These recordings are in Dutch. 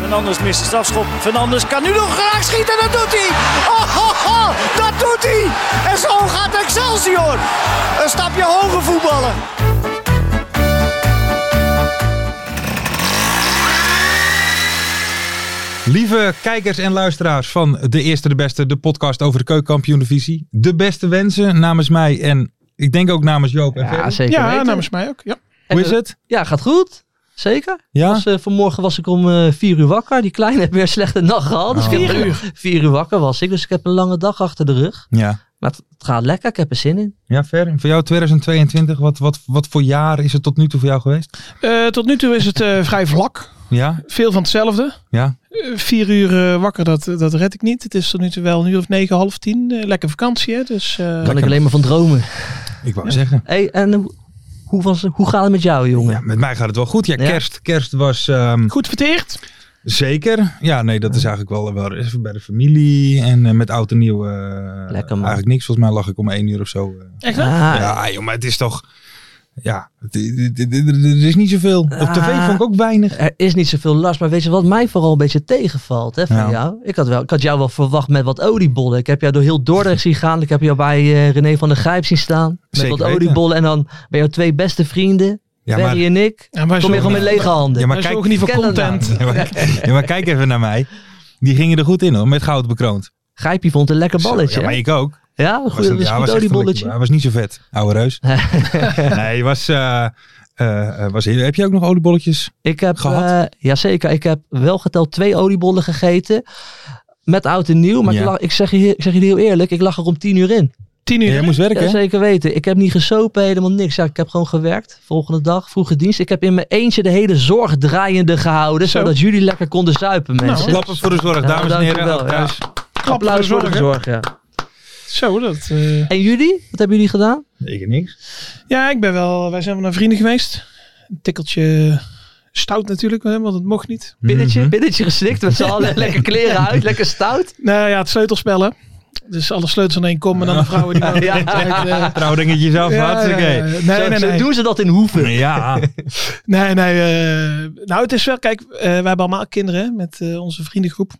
Fernandes mist de strafschop. Fernandes kan nu nog graag schieten. Dat doet hij. Oh, oh, oh, dat doet hij. En zo gaat Excelsior. Een stapje hoger voetballen. Lieve kijkers en luisteraars van De Eerste de Beste, de podcast over de keukenkampioen-divisie. De beste wensen namens mij en ik denk ook namens Joop en Ja, Ferry. zeker ja, weten. namens mij ook. Ja. Hoe is En, het? eh, Ja, gaat goed. Zeker. Ja? Was, eh, vanmorgen was ik om eh, vier uur wakker. Die kleine heeft weer een slechte nacht gehad. Dus ik heb Vier uur. Vier uur wakker was ik. Dus ik heb een lange dag achter de rug. Ja. Maar het, het gaat lekker. Ik heb er zin in. Ja, Ferry. Voor jou 2022, wat, wat, wat voor jaar is het tot nu toe voor jou geweest? Eh, tot nu toe is het eh, vrij vlak. Ja, Veel van hetzelfde. ja. Eh, vier uur eh, wakker, dat, dat red ik niet. Het is tot nu toe wel een uur of negen, half tien. Eh, lekker vakantie, hè. Dus, eh, Daar kan ik alleen maar van dromen. Ik wou zeggen. Hey, en eh, hoe, was, hoe gaat het met jou, jongen? Ja, met mij gaat het wel goed. Ja, Ja. kerst, kerst was ehm, Goed verteerd. zeker. Ja, nee, dat is eigenlijk wel, wel even bij de familie en eh, met oud en nieuw. eh, Lekker, man. Eigenlijk niks. Volgens mij lag ik om één uur of zo. eh. Echt waar? Ah, Ja, joh, maar het is toch... Ja, het- het- het- het- er is niet zoveel. Op tv vond ik ook weinig. Er is niet zoveel last, maar weet je wat mij vooral een beetje tegenvalt hè, van Ja. jou? Ik had, wel, ik had jou wel verwacht met wat oliebollen. Ik heb jou door heel Dordrecht zien gaan. Ik heb jou bij eh, René van der Grijp zien staan. Met Zeker wat weten. oliebollen. En dan bij jouw twee beste vrienden, Ja, Berry maar, en ik, Ja, maar kom je gewoon met lege handen. Ja, maar Maar kijk- kijk, niet voor ken dat content. ja, maar, ja, maar kijk even naar mij. Die gingen er goed in hoor, met goud bekroond. Grijpie vond een lekker balletje. Zo, ja, hè? maar ik ook. Ja, een goed, Was een- was ja, een was goed echt een oliebolletje. lekker- Hij was niet zo vet, ouwe reus. nee, was, eh, eh, eh, was heel, heb je ook nog oliebolletjes? ik heb, eh, gehad? ja jazeker, ik heb wel geteld twee oliebollen gegeten. Met oud en nieuw. Maar Ja. ik, lag- ik, zeg je, ik zeg je heel eerlijk, ik lag er om tien uur in. Tien Ja, uur. jij moest werken Ja, hè? zeker weten. Ik heb niet gesopen, helemaal niks. Ja, ik heb gewoon gewerkt. Volgende dag, vroege dienst. Ik heb in mijn eentje de hele zorg draaiende gehouden. Zo. Zodat jullie lekker konden zuipen, mensen. Nou, Klappen voor de zorg, Ja, dames en heren. dankjewel, ook ja. thuis. Applaus voor de hè? zorg, ja. Zo, dat... eh. En jullie? Wat hebben jullie gedaan? Ik en niks. Ja, ik ben wel... Wij zijn wel naar vrienden geweest. Een tikkeltje stout natuurlijk, hè, want het mocht niet. Binnetje, Mhm. binnetje geslikt met z'n allen. lekker kleren uit, lekker stout. Nou ja, het sleutelspellen. Dus alle sleutels aan één kom en dan de vrouwen die... wonen Ja. altijd, eh, Trouwdingetjes af, Ja, hartstikke. ja, ja. Nee, Zo- nee, zo nee. doen ze dat in hoeven. Ja, Nee, nee. eh, nou, het is wel, kijk, eh wij hebben allemaal kinderen hè, met eh, onze vriendengroep.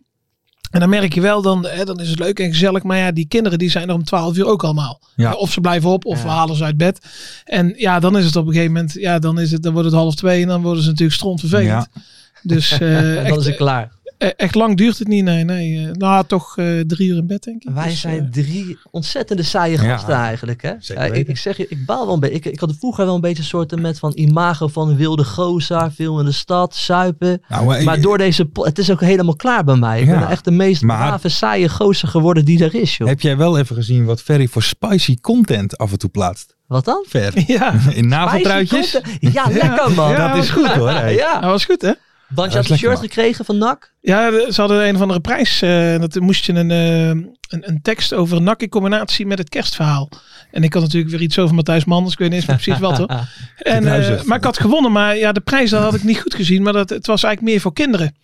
En dan merk je wel, dan, hè, dan is het leuk en gezellig. Maar ja, die kinderen die zijn er om 12 uur ook allemaal. Ja. Ja, Of ze blijven op, of Ja. we halen ze uit bed. En ja, dan is het op een gegeven moment, ja, dan, is het, dan wordt het half twee en dan worden ze natuurlijk strontvervelend. Ja. Dus eh, En dan echt, is het klaar. eh, echt lang duurt het niet. Nee, nee. eh, nou, toch eh, drie uur in bed, denk ik. Wij Dus, zijn eh, drie ontzettende saaie gasten Ja, eigenlijk. Hè? zeker Ja, ik, weten. ik zeg je, ik baal wel een beetje. Ik, ik had vroeger wel een beetje een soort eh, met van imago van een wilde gozer, veel in de stad, suipen. Nou, maar ik- maar door deze, po- het is ook helemaal klaar bij mij. Ik Ja. ben nou echt de meest Maar- brave, saaie gozer geworden die er is, joh. heb jij wel even gezien wat Ferry voor spicy content af en toe plaatst? Wat dan? Ver. eh, Ja, In naveltruitjes? Spicy content. Ja, lekker man. Ja, Dat is goed hoor. ja. hey. Oh, dat was goed, hè? Want je dat had is een lekker, shirt man. gekregen van NAC. Ja, de- ze hadden een of andere prijs. eh, en dat moest je een, eh, een, een tekst over NAC in combinatie met het kerstverhaal. En ik had natuurlijk weer iets over Matthijs Manders. Ik weet niet eens meer precies wat hoor. En, Het huis eh, even. maar ik had gewonnen. Maar ja, de prijs dat had ik niet goed gezien. Maar dat, het was eigenlijk meer voor kinderen.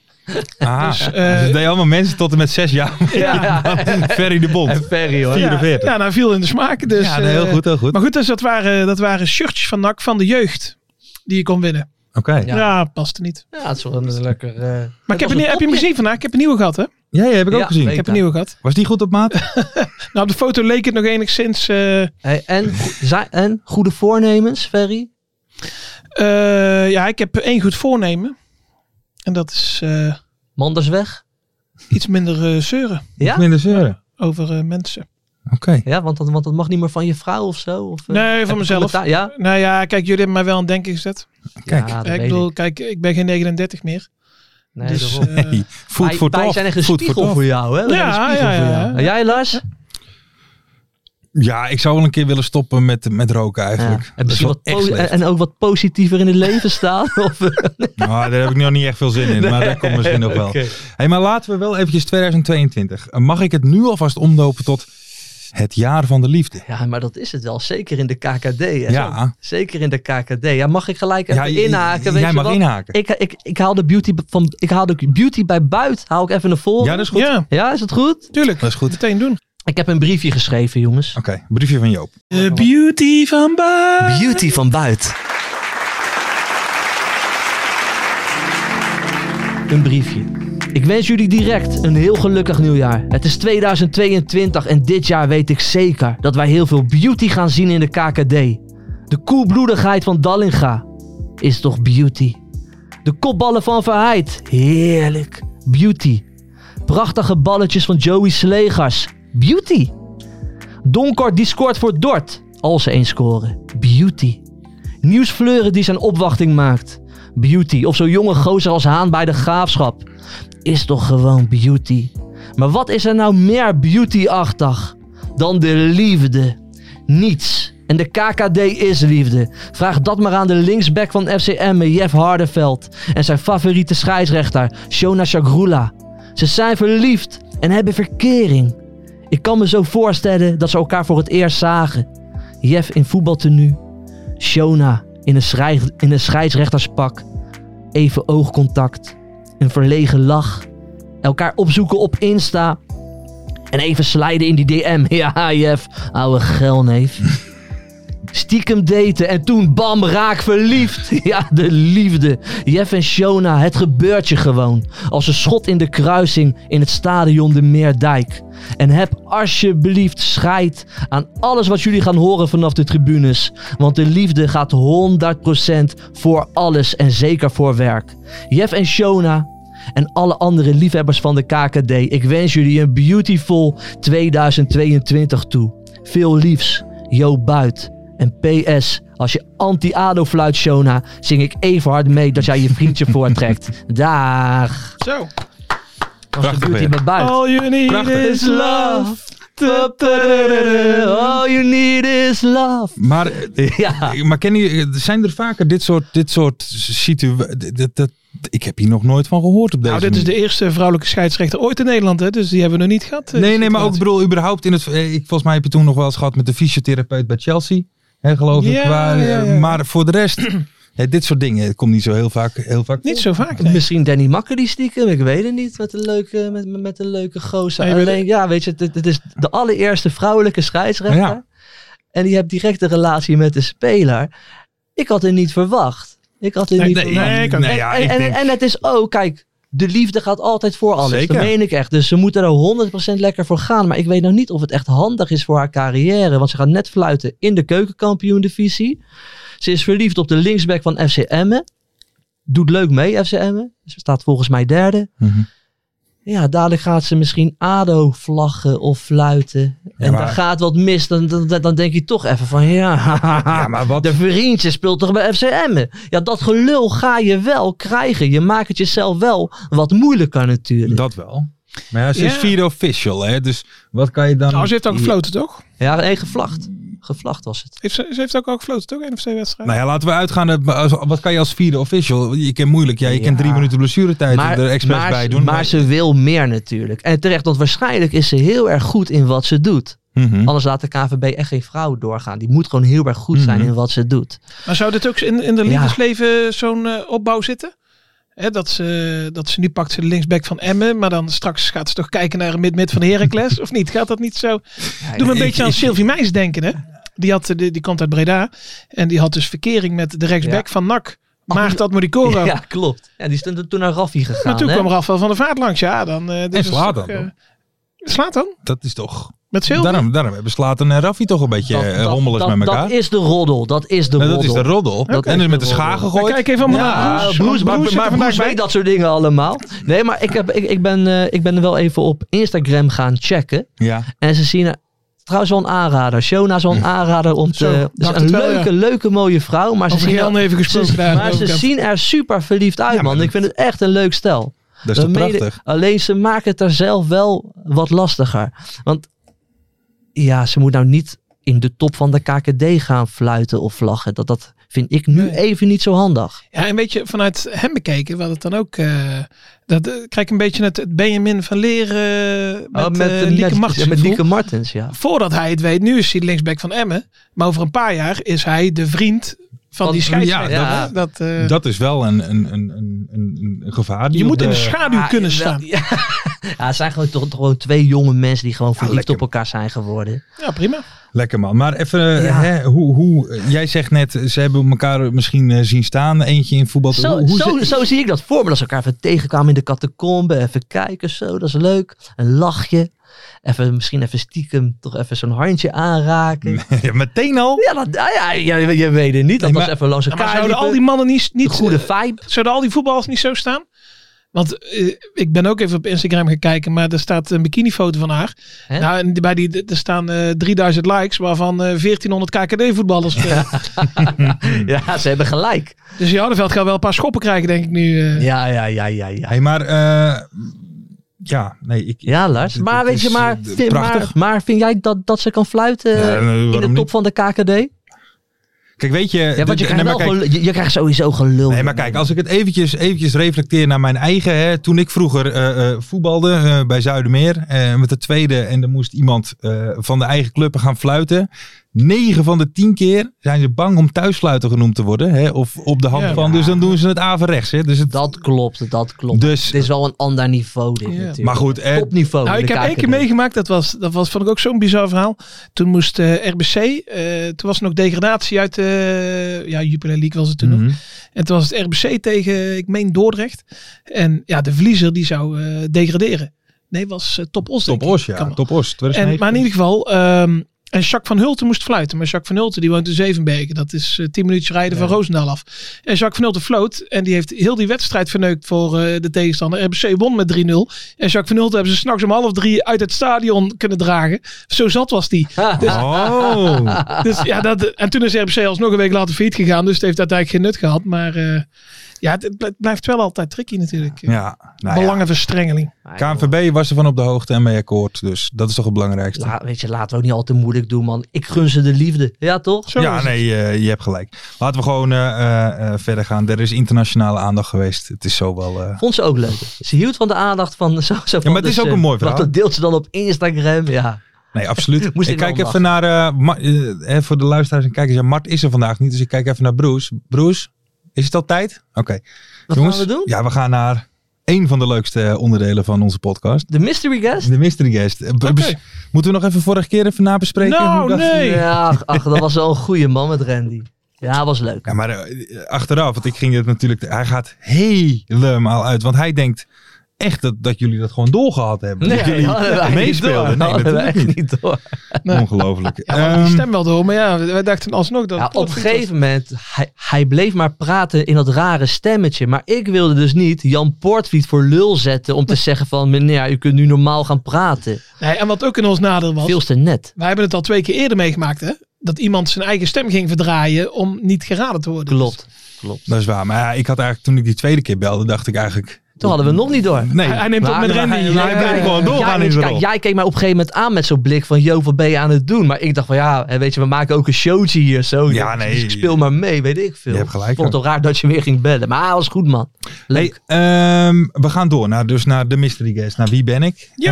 Ah, dus, Dus, dat eh, deden allemaal mensen tot en met zes jaar. Ja, Ferry de Bond. Ferry hoor. 44. Ja, nou viel in de smaak. Dus, ja, nee, heel eh, goed, heel goed. Maar goed, dus dat waren, dat waren shirtjes van NAC van de jeugd. Die je kon winnen. Oké. Ja. Ja, paste niet. Ja, het is wel een lekker... eh, Maar ik was heb, een een, heb je hem topje. gezien vandaag? Ik heb een nieuwe gehad, hè? Ja, ja, heb ik ook Ja, gezien. Ik nee. heb een nieuwe gehad. Was die goed op maat? Nou, op de foto leek het nog enigszins... eh, Hey, en, zij- en goede voornemens, Ferry? Eh, ja, ik heb één goed voornemen. En dat is eh, Manders weg? iets minder eh, zeuren Ja? Minder zeuren. over eh, mensen. Oké. Ja, want dat, want dat mag niet meer van je vrouw of zo. Of, eh, Nee, heb van je mezelf. commentaar? Ja, Nou ja, kijk, jullie hebben mij wel aan het denken gezet. Kijk. Ja, dat ik weet bedoel, kijk, ik ben geen 39 meer. Nee, dus, daarom. eh, Hey, voet wij, voor wij tof, zijn echt een voet spiegel tof. voor jou, hè? Wij Ja, zijn een spiegel ja, voor ja. jou. En jij, Lars? Ja, ik zou wel een keer willen stoppen met, met roken eigenlijk. Dat is En, misschien wel wat echt po- slecht. en, en ook wat positiever in het leven staan. Of, eh? Nou, daar heb ik nog niet echt veel zin in, maar dat komt misschien nog wel. Hey, maar laten we wel eventjes 2022. Mag ik het nu alvast omdopen tot het jaar van de liefde? Ja, maar dat is het wel. Zeker in de KKD. Hè? Ja. Zeker in de KKD. Ja, mag ik gelijk even Ja, j- inhaken? Weet Jij je mag wat? inhaken. Ik, ik, ik haal de beauty, b- van, ik haal de beauty bij buiten. Haal ik even naar voren. Ja, dat is goed. Ja, Ja, is dat goed? tuurlijk. Dat is goed. Meteen doen. Ik heb een briefje geschreven, jongens. Oké, briefje van Joop. De beauty van Baar. Beauty van buiten. Een briefje. Ik wens jullie direct een heel gelukkig nieuwjaar. Het is 2022 en dit jaar weet ik zeker dat wij heel veel beauty gaan zien in de KKD. De koelbloedigheid van Dallinga is toch beauty. De kopballen van Verheid, heerlijk, beauty. Prachtige balletjes van Joey Slegers, beauty. Donkort die scoort voor Dort. Als ze eens scoren. Beauty. Nieuwsfleuren die zijn opwachting maakt. Beauty. Of zo'n jonge gozer als Haan bij de graafschap. Is toch gewoon beauty. Maar wat is er nou meer beauty-achtig dan de liefde? Niets. En de KKD is liefde. Vraag dat maar aan de linksback van FCM, Jeff Hardeveld. En zijn favoriete scheidsrechter, Shona Shagrula. Ze zijn verliefd en hebben verkering. Ik kan me zo voorstellen dat ze elkaar voor het eerst zagen. Jeff in voetbaltenue. Shona in een, schrij- in een scheidsrechterspak. Even oogcontact. Een verlegen lach. Elkaar opzoeken op Insta. En even slijden in die DM. Ja, Jeff. Oude gelneef. Stiekem daten en toen bam, raak verliefd. Ja, de liefde. Jeff en Shona, het gebeurt je gewoon. Als een schot in de kruising in het stadion de Meerdijk. En heb alsjeblieft scheid aan alles wat jullie gaan horen vanaf de tribunes. Want de liefde gaat 100% voor alles en zeker voor werk. Jeff en Shona en alle andere liefhebbers van de KKD. Ik wens jullie een beautiful 2022 toe. Veel liefs, Jo Buit. En PS, als je anti-ADO fluit, Shona, zing ik even hard mee dat jij je vriendje voortrekt. Daag. Zo. Dat was de Prachtig beauty weer. met Buit. All you need Prachtig. is love. All you need is love. Maar, eh, Ja. maar ken je, zijn er vaker dit soort, dit soort situaties? Ik heb hier nog nooit van gehoord op deze Nou, dit is manier. de eerste vrouwelijke scheidsrechter ooit in Nederland, hè? dus die hebben we nog niet gehad. eh, Nee, die nee, maar ook ik situatie. bedoel, überhaupt in het. eh, Ik, volgens mij heb je toen nog wel eens gehad met de fysiotherapeut bij Chelsea. Hè, geloof ik. Ja, Waar, eh, ja, ja. Maar voor de rest, hè, dit soort dingen het komt niet zo heel vaak. Heel vaak Niet voor. zo vaak, nee. Misschien Danny Makker die stiekem, ik weet het niet, met een leuke, met, met een leuke gozer. Nee, maar Alleen, ja, weet je, dit, dit is de allereerste vrouwelijke scheidsrechter. Ja. En die hebt direct een relatie met de speler. Ik had het niet verwacht. Ik had het Nee, niet nee, verwacht. nee, ik ook nee, niet. ja, en, ik en, denk, en het is ook, kijk, de liefde gaat altijd voor alles. Zeker. Dat meen ik echt. Dus ze moeten er 100% lekker voor gaan. Maar ik weet nog niet of het echt handig is voor haar carrière. Want ze gaat net fluiten in de keukenkampioen-divisie. Ze is verliefd op de linksback van FC Emmen. Doet leuk mee, FC Emmen. Ze staat volgens mij derde. Mhm. Ja, dadelijk gaat ze misschien ADO vlaggen of fluiten. en maar- dan gaat wat mis. Dan, dan, dan denk je toch even van ja, Ja, maar wat? de vriendje speelt toch bij FC Emmen? Ja, dat gelul ga je wel krijgen. Je maakt het jezelf wel wat moeilijker natuurlijk. Dat wel. Maar ja, ze is Ja. vier official, hè? Dus wat kan je dan. Nou, ze heeft ook gefloten, toch? Ja, nee, gevlacht. Gevlacht was het. Heeft ze, ze heeft ook al gefloten, toch? Eén of twee wedstrijden. Nou ja, laten we uitgaan. eh, als- Wat kan je als vierde official? Je kent moeilijk. Ja, je Ja. kent drie minuten blessuretijd er expres maar, bij doen. maar ze wil meer natuurlijk. En terecht, want waarschijnlijk is ze heel erg goed in wat ze doet. Mhm. Anders laat de KVB echt geen vrouw doorgaan. Die moet gewoon heel erg goed zijn Mhm. in wat ze doet. Maar zou dit ook in, in de liefdesleven zo'n eh, opbouw zitten? Hè, dat, ze, dat ze nu pakt ze de linksback van Emmen, maar dan straks gaat ze toch kijken naar een mid-mid van Heracles, of niet? Gaat dat niet zo? Doe me een ik- beetje aan ik- Sylvie Meijs denken, hè? Die, had, eh, die, die komt uit Breda en die had dus verkering met de rechtsback van NAC, Maarten Admodicoro. Ja, klopt. Ja, die is toen- toen naar Raffi gegaan. Maar toen hè? kwam Rafael van der Vaart langs, ja. Dan, eh, dus En Zlatan dat is toch, dan? eh, Slaat dan? Dat is toch. Met Sylvie? Daarom, daarom hebben Slaten en Raffi toch een beetje Dat- eh, dat- rommelig dat- met elkaar. Dat is de roddel. Dat is de Nou, roddel. dat is de roddel. Oké. En dus met de Ja, schaar gegooid. kijk even allemaal Ja, naar Broes. Broes, Want maar- Broes zit maar er Broes vandaag bij. weet dat soort dingen allemaal. Nee, maar ik, heb, ik, ik, ben, eh, ik ben wel even op Instagram gaan checken. Ja. En ze zien er trouwens wel een aanrader. Shona is wel Hm. een aanrader om te... Zo, het is dacht een het wel, leuke, ja. leuke, mooie vrouw. Maar ze, Over zien, Jan er, even gesproken ze, daar. maar ze ook. zien er super verliefd uit, Ja, maar man. dat- Ik vind het echt een leuk stel. Dat is toch We mede- prachtig? alleen ze maken het er zelf wel wat lastiger. Want ja, ze moet nou niet in de top van de KKD gaan fluiten of vlaggen. Dat, dat vind ik nu Nee. even niet zo handig. Ja, een beetje vanuit hem bekeken, wat het dan ook. eh, dat eh, krijg ik een beetje het, het Benjamin van Leren met, Oh, eh, Lieke met- Martens ja, met gevoel. Lieke Martens, ja. Voordat hij het weet, nu is hij de linksback van Emmen. Maar over een paar jaar is hij de vriend van, Van- die scheidsrechter. ja, dat, dat, eh, Dat is wel een, een, een, een, een, een gevaar. die je op moet in de de- schaduw Ah, kunnen wel- staan. Ja, Ja, het zijn gewoon, toch, toch gewoon twee jonge mensen die gewoon verliefd Ah, lekker. op elkaar zijn geworden. Ja, prima. Lekker man. Maar even, eh, Ja. hè, hoe, hoe, jij zegt net, ze hebben elkaar misschien eh, zien staan. Eentje in voetbal. Zo, hoe, hoe zo, ze- zo zie ik dat voor me. Dat ze elkaar even tegenkwamen in de catacombe. Even kijken, zo, dat is leuk. Een lachje. Even, misschien even stiekem toch even zo'n handje aanraken. Ja, meteen al. Ja, dat, ja, ja, je, je weet het niet. Dat Nee, maar- was even langs Ja, maar elkaar. zouden liepen. al die mannen niet... De niet goede eh, vibe. Zouden al die voetballers niet zo staan? Want eh, ik ben ook even op Instagram gaan kijken, maar er staat een bikinifoto van haar. Hè? Nou, en bij die, er staan eh, 3000 likes, waarvan eh, 1400 KKD-voetballers. Hmm. Ja, ze hebben gelijk. eh, Dus Jardenveld gaat wel een paar schoppen krijgen, denk ik nu. eh. Ja, ja, ja, ja, ja. Hey, maar eh, ja, nee, ik. Ja, Lars. Dit- Maar dit weet je, is, maar, eh, vind, maar, prachtig. maar vind jij dat, dat ze kan fluiten eh, Ja, nee, in de waarom top niet? van de KKD? Kijk, weet je. Ja, want je de- krijgt, nee, maar wel kijk, gelul- je, je krijgt sowieso gelul. Nee, maar kijk, als ik het eventjes, eventjes reflecteer naar mijn eigen. Hè, toen ik vroeger eh, eh, voetbalde eh, bij Zuidermeer eh, met de tweede. En er moest iemand eh, van de eigen club gaan fluiten. 9 van de 10 keer zijn ze bang om thuisfluiten genoemd te worden. Hè, of op de hand Ja. van. Dus dan doen ze het averechts. Hè, dus het, Dat klopt, dat klopt. Dus- het is wel een ander niveau dit Ja. natuurlijk. maar goed, eh, Topniveau. Nou, in ik de heb één keer KKD. meegemaakt, dat, was, dat was, vond ik ook zo'n bizar verhaal. Toen moest eh, RBC, eh, toen was er nog degradatie uit de ja, Jupiler League was het toen nog. mhm. En toen was het RBC tegen, ik meen, Dordrecht. En ja, de verliezer die zou eh, degraderen. Nee, was eh, Top Os. denk Top ik. Os, Kan ja. wel. Top Os. En, 2009. maar in ieder geval, ehm, en Jacques van Hulten moest fluiten. Maar Jacques van Hulten, die woont in Zevenbergen. Dat is eh, 10 minuutjes rijden van Roosendaal af. En Jacques van Hulten floot. En die heeft heel die wedstrijd verneukt voor eh, de tegenstander. RBC won met 3-0. En Jacques van Hulten hebben ze s'nachts om half drie uit het stadion kunnen dragen. Zo zat was die. Oh. Dus, ja, dat, en toen is RBC alsnog een week later failliet gegaan. Dus het heeft uiteindelijk geen nut gehad. Maar eh, ja, het, het bl- het blijft wel altijd tricky natuurlijk. Ja, nou ja. Belangenverstrengeling. Maar joh, KNVB was ervan op de hoogte en mee akkoord. Dus dat is toch het belangrijkste. la- weet je, laten we ook niet al te moeilijk doen, man. Ik gun ze de liefde. Ja, toch? ja, nee, eh, je hebt gelijk. Laten we gewoon eh, eh, eh, verder gaan. Er is internationale aandacht geweest. Het is zo wel. eh, Vond ze ook leuk. Ze hield van de aandacht van zo. zo maar het is ook een mooi verhaal. Want dat deelt ze dan op Instagram. Ja, nee, absoluut. Moest ik ik kijk wel even naar. eh, Ma- eh, eh, voor de luisteraars en kijkers. Ja, Mart is er vandaag niet. Dus ik kijk even naar Bruce. Bruce, is het al tijd? Oké. Wat Jongens, gaan we doen? Ja, we gaan naar één van de leukste eh, onderdelen van onze podcast. de mystery guest. De mystery guest. Eh, b- bes- Moeten we nog even vorige keer even nabespreken? Nou, hoe dat- nee. Ja, ach, ach, dat was wel een goede man met Randy. Ja, was leuk. Ja, maar eh, achteraf, want ik ging het natuurlijk. Hij gaat helemaal uit. Want hij denkt echt dat, dat jullie dat gewoon doorgehad hebben. dat jullie hadden wij niet door. meespeelden. Nee, Hadden wij natuurlijk echt niet. niet door. Nee. Ongelooflijk. Ja, we hadden die Ehm, stem wel door. Maar ja, wij dachten alsnog dat... Ja, dat op een goed gegeven moment, hij, hij bleef maar praten in dat rare stemmetje. Maar ik wilde dus niet Jan Poortwiet voor lul zetten om te zeggen van... meneer, u kunt nu normaal gaan praten. was. Nee, en wat ook in ons nadeel was... Veel te net. Wij hebben het al twee keer eerder meegemaakt, hè? Dat iemand zijn eigen stem ging verdraaien om niet geraden te worden. Klopt. Klopt. dat is waar. Maar ja, ik had eigenlijk toen ik die tweede keer belde, dacht ik eigenlijk. Toen hadden we hem nog niet door. Nee, Hij, hij neemt Maar op met dan Randy. hij- hij Ja, blijft ja, gewoon ja. door. doorgaan jij, in zijn kijk, rol. jij keek mij op een gegeven moment aan met zo'n blik van... Yo, wat ben je aan het doen? Maar ik dacht van ja, hè, weet je, we maken ook een showtje hier zo. Ja, Dus nee. ik speel maar mee, weet ik veel. Je hebt gelijk, Ik vond het wel raar dat je weer ging bellen. Maar hij was goed, man. Leuk. Hey, ehm, we gaan door naar, dus naar de mystery guest. Naar wie ben ik? Ja,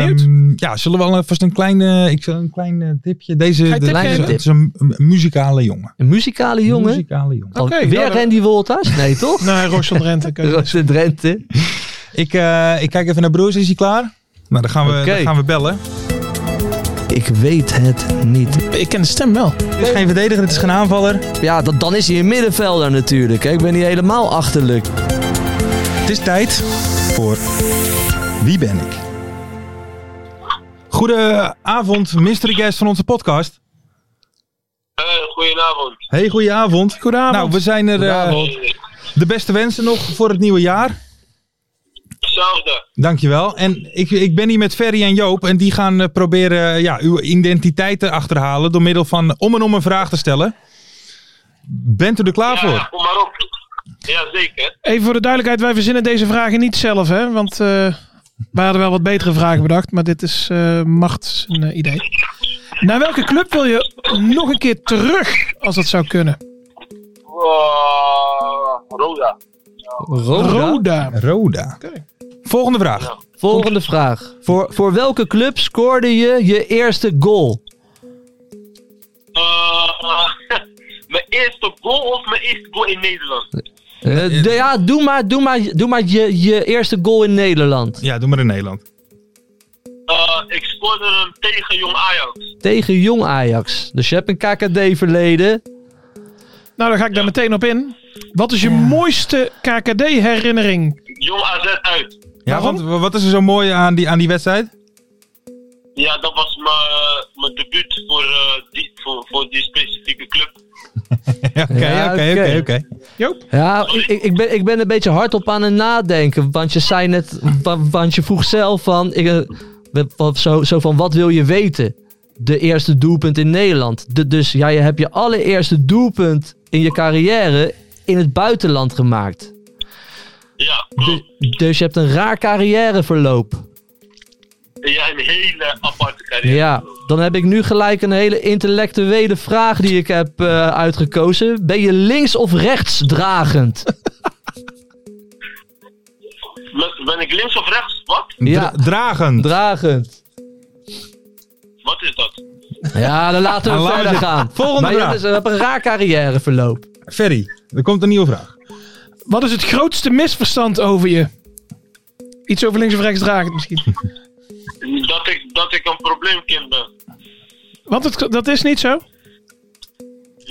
Ehm, ben Ja, zullen we alvast een klein, eh, ik, zal een klein eh, tipje. Deze je tip dit is- geven? het is een, een muzikale jongen. Een muzikale jongen. Muzikale jongen. Al- Oké, weer nou, dan- Randy Wolters? Nee, toch? Nee, Rochon Drenthe. kun je- Rosse Drenthe. Ik, eh, ik kijk even naar Bruce. Is hij klaar? Nou, dan gaan we, Oké. dan gaan we bellen. Ik weet het niet. Ik ken de stem wel. Het is geen verdediger, het is geen aanvaller. Ja, dat, dan is hij een middenvelder natuurlijk. Hè. Ik ben niet helemaal achterlijk. Het is tijd voor Wie ben ik? Goedenavond, mystery guest van onze podcast. Eh, goedenavond. Hey, goedenavond. Goedenavond. Nou, we zijn er. eh, de beste wensen nog voor het nieuwe jaar. hetzelfde. Dankjewel. En ik, ik ben hier met Ferry en Joop. En die gaan eh, proberen eh, ja, uw identiteit te achterhalen. door middel van om en om een vraag te stellen. Bent u er klaar Ja, voor? kom maar op. Jazeker. Even voor de duidelijkheid, wij verzinnen deze vragen niet zelf, hè? Want eh we hadden wel wat betere vragen bedacht, maar dit is eh macht een eh, idee. Naar welke club wil je nog een keer terug, als dat zou kunnen? Oh, Roda. Roda. Roda. Roda. Volgende vraag. Volgende vraag. Voor, voor welke club scoorde je je eerste goal? Eh, mijn eerste goal of mijn eerste goal in Nederland? Eh, de- ja, doe maar, doe maar, doe maar je, je eerste goal in Nederland. Ja, doe maar in Nederland. Eh, ik scoorde hem tegen Jong Ajax. Tegen jong Ajax. Dus je hebt een KKD-verleden. Nou, dan ga ik daar meteen op in. Wat is je mooiste KKD-herinnering? Jong AZ uit. Ja, Waarom? want wat is er zo mooi aan die, aan die wedstrijd? Ja, dat was mijn- mijn debuut voor, eh, die, voor, voor die specifieke club. Ja, Oké, Ja, oké, oké. oké, oké. Joop? Ja, ik, ik, ben, ik ben een beetje hardop aan het nadenken. Want je zei net, wa- want je vroeg zelf van, ik, eh, we- wat- zo, zo van wat wil je weten? De eerste doelpunt in Nederland. De- dus ja, je hebt je allereerste doelpunt in je carrière in het buitenland gemaakt. Ja, klopt. Du- dus je hebt een raar carrièreverloop. Ja, een hele aparte carrière. Ja, dan heb ik nu gelijk een hele intellectuele vraag die ik heb eh, uitgekozen. Ben je links of rechts dragend? Ben- Ben ik links of rechts? Wat? Ja. Dra- Dragen. Dragend. Wat is dat? Ja, dan laten we Dan laten we verder dit- gaan. Volgende maar je vraag. hebt dus- we hebben een raar carrièreverloop. Ferry, er komt een nieuwe vraag. Wat is het grootste misverstand over je? Iets over links of rechts dragen misschien. Dat ik, dat ik een probleemkind ben. Want het, dat is niet zo. Oké,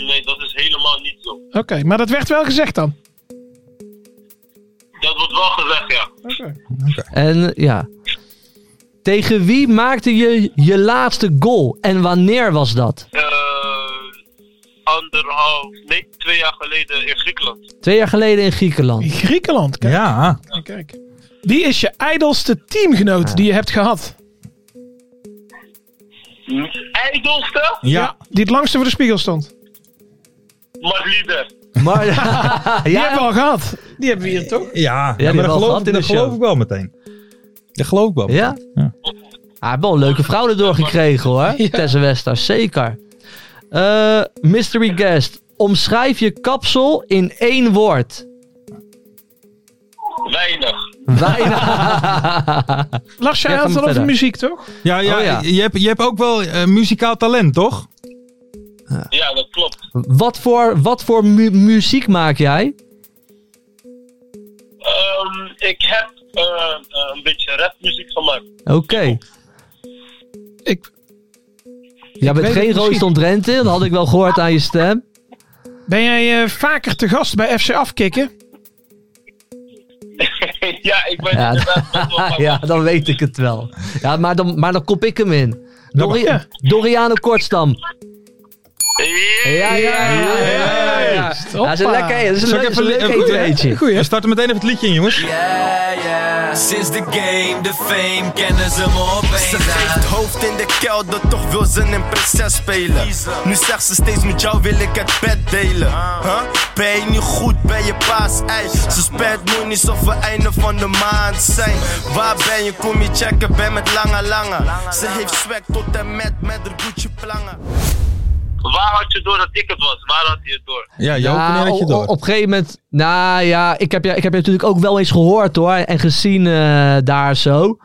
Nee, dat is helemaal niet zo. maar dat werd wel gezegd dan. Dat wordt wel gezegd, ja. En ja. Tegen wie maakte je je laatste goal? En wanneer was dat? Eh, anderhalf, nee, twee jaar geleden in Griekenland. Twee jaar geleden in Griekenland. In Griekenland, kijk. Ja, Oh, kijk. Wie is je ijdelste teamgenoot die je hebt gehad? Hm? IJdelste, ja. Die het langste voor de spiegel stond. maar leader. Maar, Die ja, hebben we al gehad. Die hebben we hier toch? Ja, maar die hebben we dat al geloof, gehad in dat de show. geloof ik wel meteen. Dat geloof ik wel. Ja? Hij heeft wel een leuke vrouw erdoor gekregen hoor. Tessa Wester, zeker. Eh, mystery guest. Omschrijf je kapsel in één woord. Weinig. Weinig. Lars, jij Ja, ga had maar het al over verder. muziek, toch? Ja, ja, Oh, ja. Je, hebt, je hebt ook wel eh, muzikaal talent, toch? Ah. Ja, dat klopt. wat voor, wat voor mu- muziek maak jij? Ehm, ik heb eh, een beetje rapmuziek gemaakt. Oké. Ik Jij bent weet geen het Royston Drenthe, dat had ik wel gehoord aan je stem. Ben jij eh, vaker te gast bij FC Afkikken? ja, ik ben Ja. inderdaad best wel Ah, van- ja, dan weet ik het wel. Ja, maar dan, maar dan kop ik hem in. Dori Ja. Doriane Kortstam. Ja, ja, ja. ja, ja. Ja, Ja, dat is een lekker, dat is een Zal ik leuk, dat is een even- leuk eh, eetweetje. We starten meteen even het liedje in, jongens. Sinds de game, de fame, kennen ze me opeens. Ze geeft hoofd in de kelder, toch wil ze een prinses spelen. Nu zegt ze steeds met jou wil ik het bed delen. Huh? Ben je niet goed bij je paas? Ey, ze spijt nu niet of we einde van de maand zijn. Waar ben je? Kom je checken, ben met lange lange. Ze heeft zwek tot en met, met haar Gucci plangen. Waar had je door dat ik het was? Waar had je het door? Ja, Joop, Ja, oh, wanneer had je o- door? Op, een gegeven moment, nou ja, ik heb je, ik heb je natuurlijk ook wel eens gehoord hoor. En gezien eh, daar zo.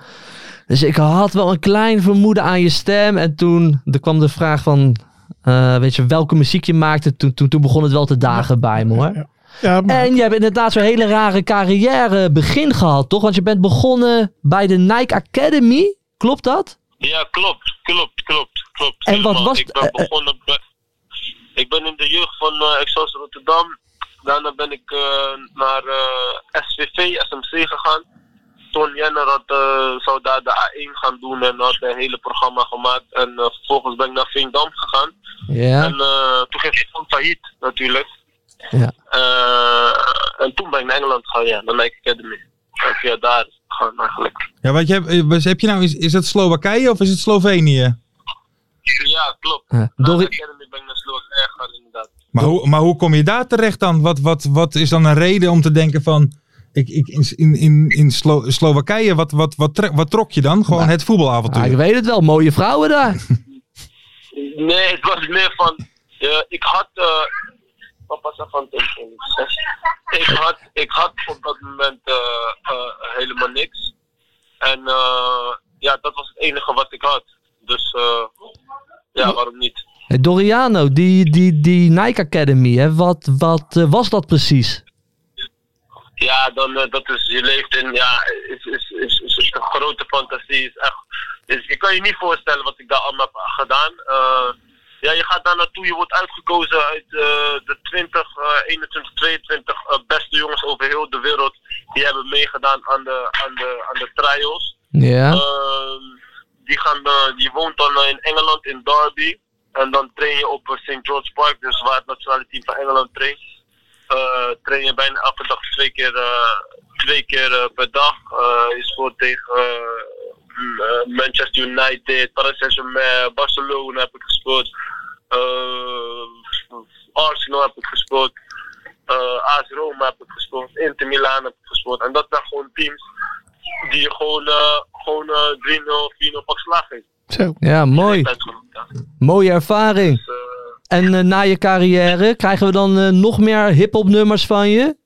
Dus ik had wel een klein vermoeden aan je stem. En toen er kwam de vraag van, eh, weet je, welke muziek je maakte. Toen, toen, toen begon het wel te dagen bij me hoor. Ja, maar En je hebt inderdaad zo'n hele rare carrière begin gehad, toch? Want je bent begonnen bij de Nike Academy. Klopt dat? Ja, klopt, klopt, klopt, klopt. En wat Helemaal. was Ik het, ben eh, eh, begonnen bij- Ik ben in de jeugd van eh, Excelsior Rotterdam. Daarna ben ik eh, naar eh, SVV, SMC gegaan. Ton Jenner had, eh, zou daar de A1 gaan doen en had een hele programma gemaakt. En eh, vervolgens ben ik naar Veendam gegaan. En Ja. eh, toen ging ik van failliet natuurlijk. Ja. Eh, en toen ben ik naar Engeland gegaan, ja, naar Nike Academy. En via daar gegaan eigenlijk. Ja, wat je hebt, eh, was- heb je nou, is, is het Slowakije of is het Slovenië? Ja, klopt. Ja. Na Dorri- de academy ben ik naar Slowakije gegaan inderdaad. Maar hoe, maar hoe kom je daar terecht dan? Wat, wat, wat is dan een reden om te denken van, ik, ik, in, in, in Slo- Slowakije, wat, wat, wat, tre- wat trok je dan? Gewoon het voetbalavontuur. Ah, ik weet het wel, mooie vrouwen daar. Nee, het was meer van. eh, ik had. eh, papa zei van tegen ik had, ik had op dat moment eh, eh, helemaal niks. En eh, ja, dat was het enige wat ik had. Dus eh, ja, waarom niet? Hey, Doriano, die, die, die Nike Academy, hè, wat, wat eh, was dat precies? Ja, dan, eh, dat is, je leeft in, ja, is, is, is, is, is een grote fantasie. Is echt, is, je kan je niet voorstellen wat ik daar allemaal heb gedaan. Eh, ja, je gaat daar naartoe, je wordt uitgekozen uit eh, de 20, eh, 21, 22 eh, beste jongens over heel de wereld. Die hebben meegedaan aan de, aan de, aan de trials. Ja. Ehm, die, gaan, eh, die woont dan eh, in Engeland, in Derby. En dan train je op eh, St. George Park, dus waar het nationale team van Engeland traint. Eh, train je bijna elke dag twee keer, eh, twee keer eh, per dag. Eh, je speelt tegen eh, m- eh, Manchester United, Paris Saint-Germain, Barcelona heb ik gespeeld. Eh, Arsenal heb ik gespeeld. Eh AS Roma heb ik gespeeld. Inter Milan heb ik gespeeld. En dat zijn gewoon teams die je gewoon, eh, gewoon eh 3-0, 4-0 pak slaag geeft. Zo. ja, mooi. Dat is gewoon, ja. Mooie ervaring. Dus, eh, En eh, na je carrière krijgen we dan eh, nog meer hip-hop nummers van je?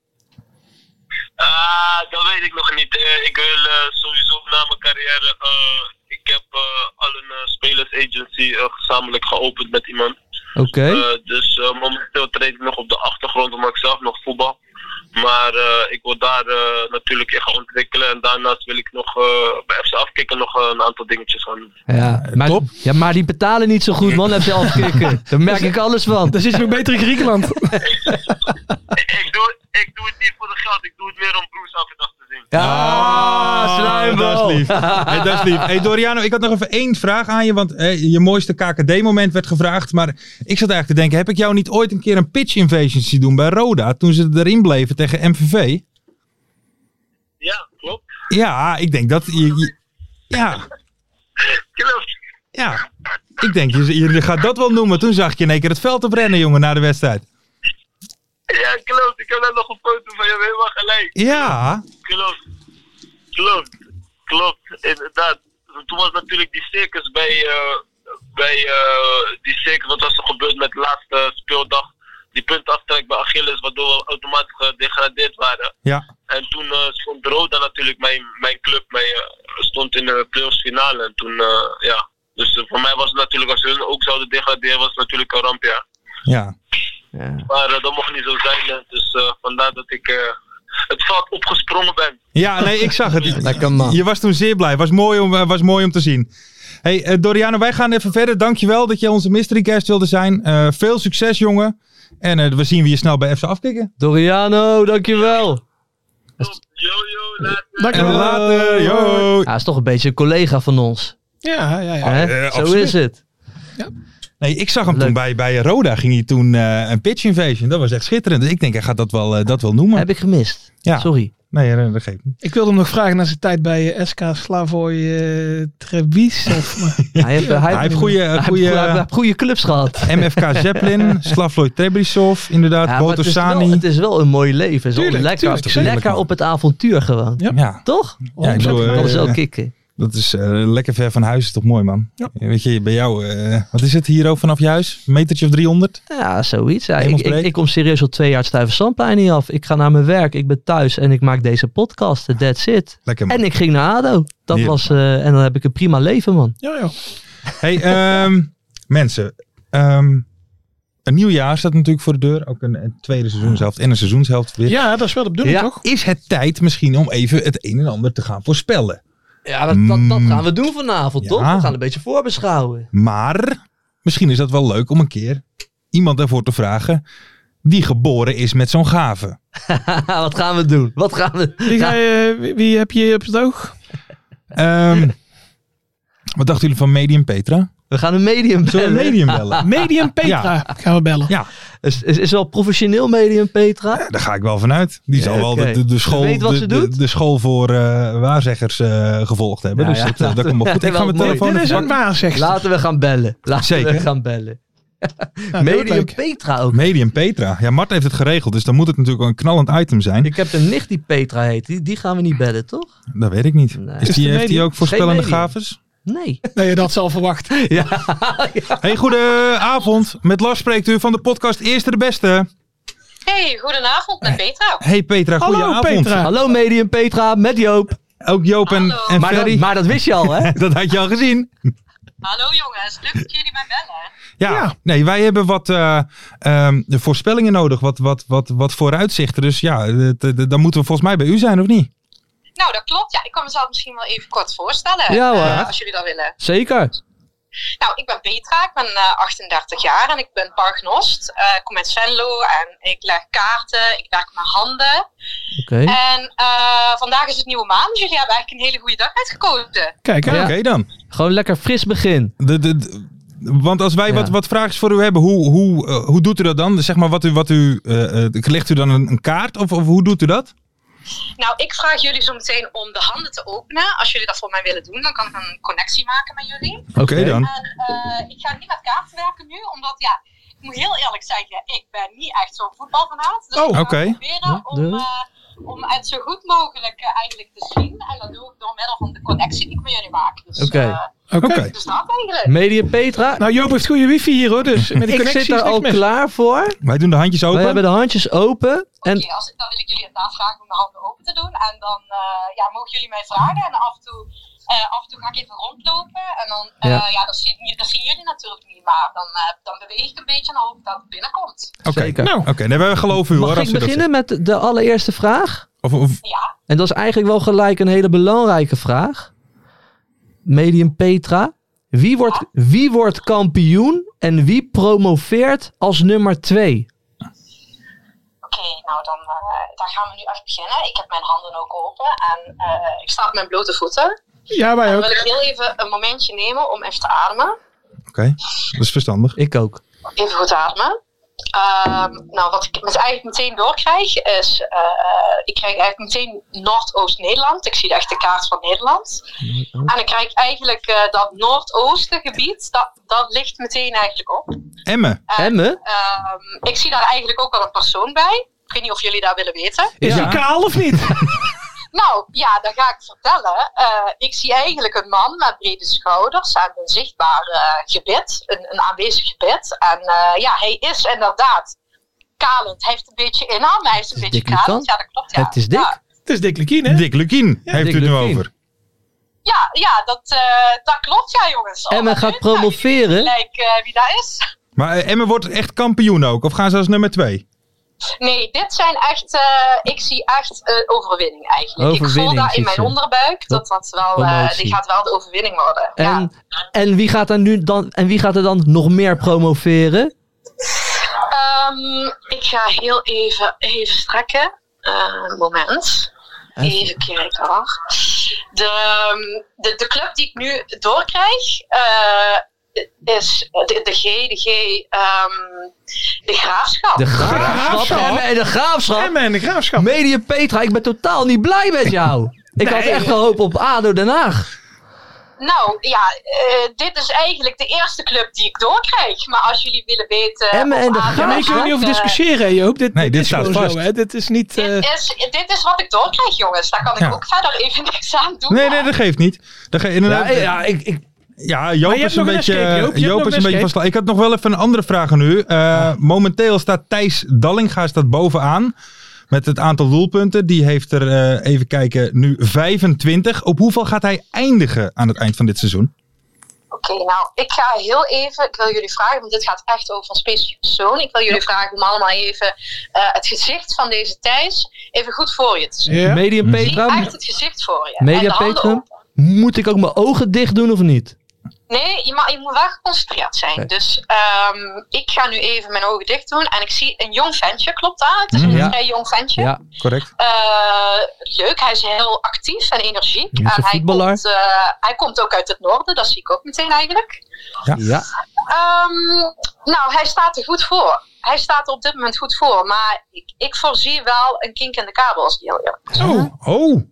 Ah, dat weet ik nog niet. Eh, ik wil eh, sowieso na mijn carrière. eh, ik heb eh, al een eh, spelersagency eh, gezamenlijk geopend met iemand. Oké. Eh, dus eh, momenteel treed ik nog op de achtergrond omdat ik zelf nog voetbal. Maar eh, ik wil daar eh, natuurlijk in gaan ontwikkelen. En daarnaast wil ik nog eh, bij FC Afkikken nog eh, een aantal dingetjes gaan doen. Ja, maar, top. ja, maar die betalen niet zo goed, man. Heb je al gekeken. Daar merk ik alles van. Dan zit je nog beter in Griekenland. ik, doe, ik doe het niet voor de geld, ik doe het meer om Bruce Afkikken te zien. Ah, Ja, Ah, dat is sluimbal. lief. Hey, dat is lief. Hey, Doriano, ik had nog even één vraag aan je. Want eh, je mooiste KKD-moment werd gevraagd. Maar ik zat eigenlijk te denken: heb ik jou niet ooit een keer een pitch invasion zien doen bij Roda? Toen ze erin bleven tegen MVV? Ja, klopt. Ja, ik denk dat. Je, je- ja, Klopt. ja. Ik denk, je, je gaat dat wel noemen. Toen zag ik je in één keer het veld oprennen, jongen, na de wedstrijd. Ja, klopt. Ik heb daar nog een foto van je, helemaal gelijk. Ja, Klopt. Klopt. Klopt. Inderdaad. Toen was natuurlijk die circus bij, eh, bij eh, die circus, wat was er gebeurd met de laatste speeldag? Die puntaftrek bij Achilles, waardoor we automatisch gedegradeerd waren. ja. En toen eh, stond Roda natuurlijk, mijn, mijn club, mijn, eh, stond in de playoffs finale. En toen, eh, ja. Dus eh, voor mij was het natuurlijk, als hun ook zouden degraderen, was het natuurlijk een ramp, ja. ja. Maar eh, dat mocht niet zo zijn. eh, Dus eh, vandaar dat ik eh, het veld opgesprongen ben. Ja, nee, ik zag het. Lekker man. Je was toen zeer blij. Was mooi om, eh, was mooi om te zien. Hey, eh, Doriano, wij gaan even verder. Dankjewel dat je onze mystery guest wilde zijn. Eh, veel succes, jongen. En eh, we zien we je snel bij FC afkicken. Doriano, dankjewel. Top. Yo, yo, later. En Dankjewel. later. Yo. Hij is toch een beetje een collega van ons. Ja, ja, ja. hè? eh, Zo absoluut. is het. Nee, ik zag hem Leuk. toen bij, bij Roda. Ging hij toen eh, een pitch invasion. Dat was echt schitterend. Dus ik denk, hij gaat dat wel, eh, dat wel noemen. Heb ik gemist. Ja. Sorry. Nee, eh, dat geeft niet. Ik wilde hem nog vragen naar zijn tijd bij eh, SK Slavoj eh Trebišov. maar- Hij heeft, hij Hij heeft eh, goede- hij heeft goede- hij heeft goede clubs gehad. MFK Zeppelin, Slavloj Trebrisov, inderdaad, Ja, maar het, is wel, Botosani. het is wel een mooi leven. Zo Tuurlijk, lekker, tuurlijk, tuurlijk, lekker man. op het avontuur gewoon. Ja. Ja, Toch? Ja, ik bedoel, dat is wel eh, kicken. dat is eh, lekker ver van huis. Is toch mooi, man? Ja. Weet je, bij jou, eh, wat is het hier ook vanaf je huis? Een metertje of 300? Ja, zoiets. Ja, ik, Hemelsbreed. ik, ik kom serieus al twee jaar stuiven niet af. Ik ga naar mijn werk, ik ben thuis en ik maak deze podcast. That's it. Lekker, man. En ik ging naar ADO. Dat Heerlijk, was, eh, en dan heb ik een prima leven, man. Ja, joh. Hey, ehm, mensen. ehm, een nieuw jaar staat natuurlijk voor de deur. Ook een, een tweede seizoenshelft en een seizoenshelft weer. ja, dat is wel de bedoeling, toch? Is het tijd misschien om even het een en ander te gaan voorspellen? Ja, dat, dat, dat Mm. gaan we doen vanavond, Ja. toch? We gaan een beetje voorbeschouwen. Maar misschien is dat wel leuk om een keer iemand daarvoor te vragen die geboren is met zo'n gave. Wat gaan we doen? Wat gaan we... Wie, ga je, wie, wie heb je op het oog? Ehm, wat dachten jullie van Medium Petra? We gaan een medium Zullen we bellen. een medium bellen? Medium ah, Petra gaan we bellen. Ja, Is, is, is wel professioneel medium Petra. daar ga ik wel vanuit. Die zal Ja, wel oké. de, de, de school, Weet wat de, ze de- doet? de school voor eh, waarzeggers eh, gevolgd hebben. Ja, dus ja, dat, eh, dat laten komt wel we- goed. Ik ga wel mijn mooi. telefoon Dit even is een pakken. waarzegster. Laten we gaan bellen. Laten we Zeker. gaan bellen. Nou, heel medium leuk. Petra ook. Medium Petra. Ja, Mart heeft het geregeld, dus dan moet het natuurlijk wel een knallend item zijn. Ik heb een nicht die Petra heet. Die, die gaan we niet bellen, toch? Dat weet ik niet. Nee. Is Is die, de heeft die medium- ook voorspellende medium. gaves? Nee. Nee, je had ze al verwacht. Hey, goedenavond. Met Lars spreekt u van de podcast Eerste de Beste. Hey, goedenavond met Petra. Hey Petra, Hallo, goedenavond. Petra. Hallo medium Petra, met Joop. Ook Joop en, Hallo. en Maar dat, Ferry. maar dat wist je al, hè? Dat had je al gezien. Hallo jongens, leuk dat jullie mij bellen. Ja, nee, wij hebben wat eh, ehm, de voorspellingen nodig, wat, wat, wat, wat vooruitzichten. Dus ja, d- d- dan moeten we volgens mij bij u zijn, of niet? Nou, dat klopt. Ja, ik kan mezelf misschien wel even kort voorstellen. Ja, hoor. eh, als jullie dat willen. Zeker. Nou, ik ben Petra, ik ben eh, 38 jaar en ik ben paragnost. Eh, ik kom uit Venlo en ik leg kaarten, ik werk met handen. Oké. En eh, vandaag is het nieuwe maan, dus jullie hebben eigenlijk een hele goede dag uitgekozen. Kijk, hè. Ja. Oké, dan. Gewoon lekker fris begin. De, de, de- want als wij Ja. wat, wat vragen voor u hebben, hoe, hoe, eh, hoe doet u dat dan? Zeg maar, wat u, wat u, eh, eh, legt u dan een, een kaart of, of hoe doet u dat? Nou, ik vraag jullie zo meteen om de handen te openen. Als jullie dat voor mij willen doen, dan kan ik een connectie maken met jullie. Oké, dan. En eh, ik ga niet met kaarten werken nu, omdat ja, ik moet heel eerlijk zeggen, ik ben niet echt zo'n voetbalfanaat. Dus Oh, ik ga oké. proberen om, Ja. dus. eh, om het zo goed mogelijk eh, eigenlijk te zien. En dat doe ik door middel van de connectie die ik met jullie maak. Dus, Oké. eh, Oké. dus dat eigenlijk. Medium Petra, Nou, Joop heeft goede wifi hier hoor, dus met die ik connectie zit is daar niks al mis. klaar voor. Wij doen de handjes We open. hebben de handjes open. Oké, En als, dan wil ik jullie het navragen om de handen open te doen. En dan eh, ja, mogen jullie mij vragen. En af en toe, eh, af en toe ga ik even rondlopen. En dan, eh, Ja. ja. dat, zien, dat zien jullie natuurlijk niet. Maar dan, eh, dan beweeg ik een beetje en hoop dat het binnenkomt. Oké, Zeker. nou. Oké, nee, wij geloven u hoor. mag als ik u dat beginnen met de allereerste vraag? zegt. Of, of, Ja. En dat is eigenlijk wel gelijk een hele belangrijke vraag. Medium Petra, wie wordt, wie wordt kampioen en wie promoveert als nummer 2? Oké, nou dan, eh, dan gaan we nu even beginnen. Ik heb mijn handen ook open en eh, ik sta op mijn blote voeten. Ja, wij Dan ook. wil ik heel even een momentje nemen om even te ademen. Oké, dat is verstandig. Ik ook. Even goed ademen. Ehm, nou, wat ik met eigenlijk meteen doorkrijg is, eh, ik krijg eigenlijk meteen Noordoost-Nederland. Ik zie echt de kaart van Nederland. En ik krijg eigenlijk eh, dat Noordoostengebied, dat, dat ligt meteen eigenlijk op. Emmen. Emme? Ehm, ik zie daar eigenlijk ook wel een persoon bij. Ik weet niet of jullie daar willen weten. Is Ja. hij kaal of niet? Nou ja, dat ga ik vertellen. Eh, ik zie eigenlijk een man met brede schouders en een zichtbaar eh, gebit, een, een aanwezig gebit. En eh, ja, hij is inderdaad kalend. Hij heeft een beetje inham, hij is Het een is beetje dik, kalend. Lucan. Ja, dat klopt. Ja. Het is dik. Ja, Het is Dick Lekien, hè? Dick Lukien heeft Dick u het nu Lukien. over. ja, ja, dat, eh, dat klopt, ja, jongens. Emma Oh, gaat leuk. Nou, jullie promoveren. weten gelijk eh, wie daar is. Maar eh, Emmen wordt echt kampioen ook? Of gaan ze als nummer twee? Nee, dit zijn echt, eh, ik zie echt eh, overwinning eigenlijk. ik voel Overwinning, daar in ziet mijn ze. onderbuik dat dat wel, eh, Promotie. die gaat wel de overwinning worden. ja. En, en, wie gaat er nu dan, en wie gaat er dan nog meer promoveren? Ehm, ik ga heel even, even strekken. Eh, moment. Even kijken hoor. De, ehm, de, de club die ik nu doorkrijg eh, is de, de G, de G, ehm, de Graafschap. De graafschap. Graafschap. Emme en de graafschap. Emmen en eh, de Graafschap. Medium Petra, ik ben totaal niet blij met jou. Ik had echt gehoopt op ADO Den Haag. Nou ja, eh, dit is eigenlijk de eerste club die ik doorkrijg. Maar als jullie willen weten... Emmen of en de ADO Ja, maar je Graafschap, kunt er niet over eh, discussiëren, hè, Joop. Dit, Nee, dit is staat gewoon vast. Zo, hè. Dit is niet... eh, Dit is, dit is wat ik doorkrijg, jongens. Daar kan ik Ja. ook verder even niks aan doen. Nee, nee, dat geeft niet. Dat ge- Ja, inderdaad, eh, ja, ik, ik, Ja, Joop Maar je is hebt een nog een beetje, eh, escape, Joop. Joop. Je hebt nog is een een beetje escape. vast. Ik had nog wel even een andere vraag aan u. Eh, Momenteel staat Thijs Dallinga staat bovenaan met het aantal doelpunten. Die heeft er, eh, even kijken, nu 25. Op hoeveel gaat hij eindigen aan het eind van dit seizoen? Oké, nou, ik ga heel even, ik wil jullie vragen, want dit gaat echt over een specifieke persoon. Ik wil jullie vragen om allemaal even eh, het gezicht van deze Thijs even goed voor je te zien. ja. Medium Zie Petra, echt het gezicht voor je. en de Media handen Petra, op. moet ik ook mijn ogen dicht doen of niet? Nee, je, ma- je moet wel geconcentreerd zijn. Nee. Dus ehm, ik ga nu even mijn ogen dicht doen en ik zie een jong ventje, klopt dat? Het is Mhm. een Ja. vrij jong ventje. Ja, Correct. Eh, leuk, hij is heel actief en energiek. Hij is en een hij voetballer. komt, eh, hij komt ook uit het noorden, dat zie ik ook meteen eigenlijk. ja. Ehm, nou, hij staat er goed voor. Hij staat er op dit moment goed voor. Maar ik, ik voorzie wel een kink in de kabel als die heel eerlijk is. Oh, oh.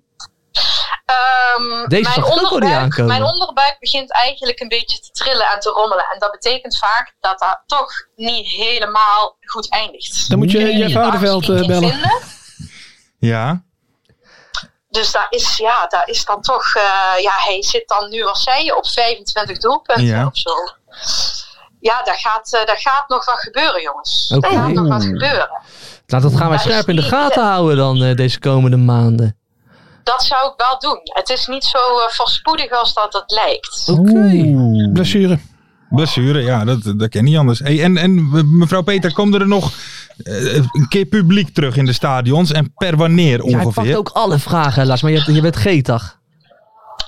Ehm, Deze mijn, zag ik ook al niet onderbuik, aankomen. mijn onderbuik begint eigenlijk een beetje te trillen en te rommelen. En dat betekent vaak dat dat toch niet helemaal goed eindigt. Dan moet je Ik Jeff kan Aardenveld, het niet eh, bellen. vinden. Ja. Dus daar is, ja, daar is dan toch... eh, ja, hij zit dan nu, wat zei je, op 25 doelpunten Ja. of zo. Ja, daar gaat, eh, daar gaat nog wat gebeuren, jongens. Oké. Daar gaat nog wat gebeuren. Nou, dat gaan wij Maar scherp in de ik- gaten houden dan eh, deze komende maanden. Dat zou ik wel doen. Het is niet zo eh, voorspoedig als dat het lijkt. Oké. Blessure. Blessure, ja, dat, dat ken je niet anders. Hey, en, en mevrouw Peter, komen er nog eh, een keer publiek terug in de stadions? En per wanneer Ja, ik ongeveer? pakt ook alle vragen helaas, maar je, hebt, je bent G-dag.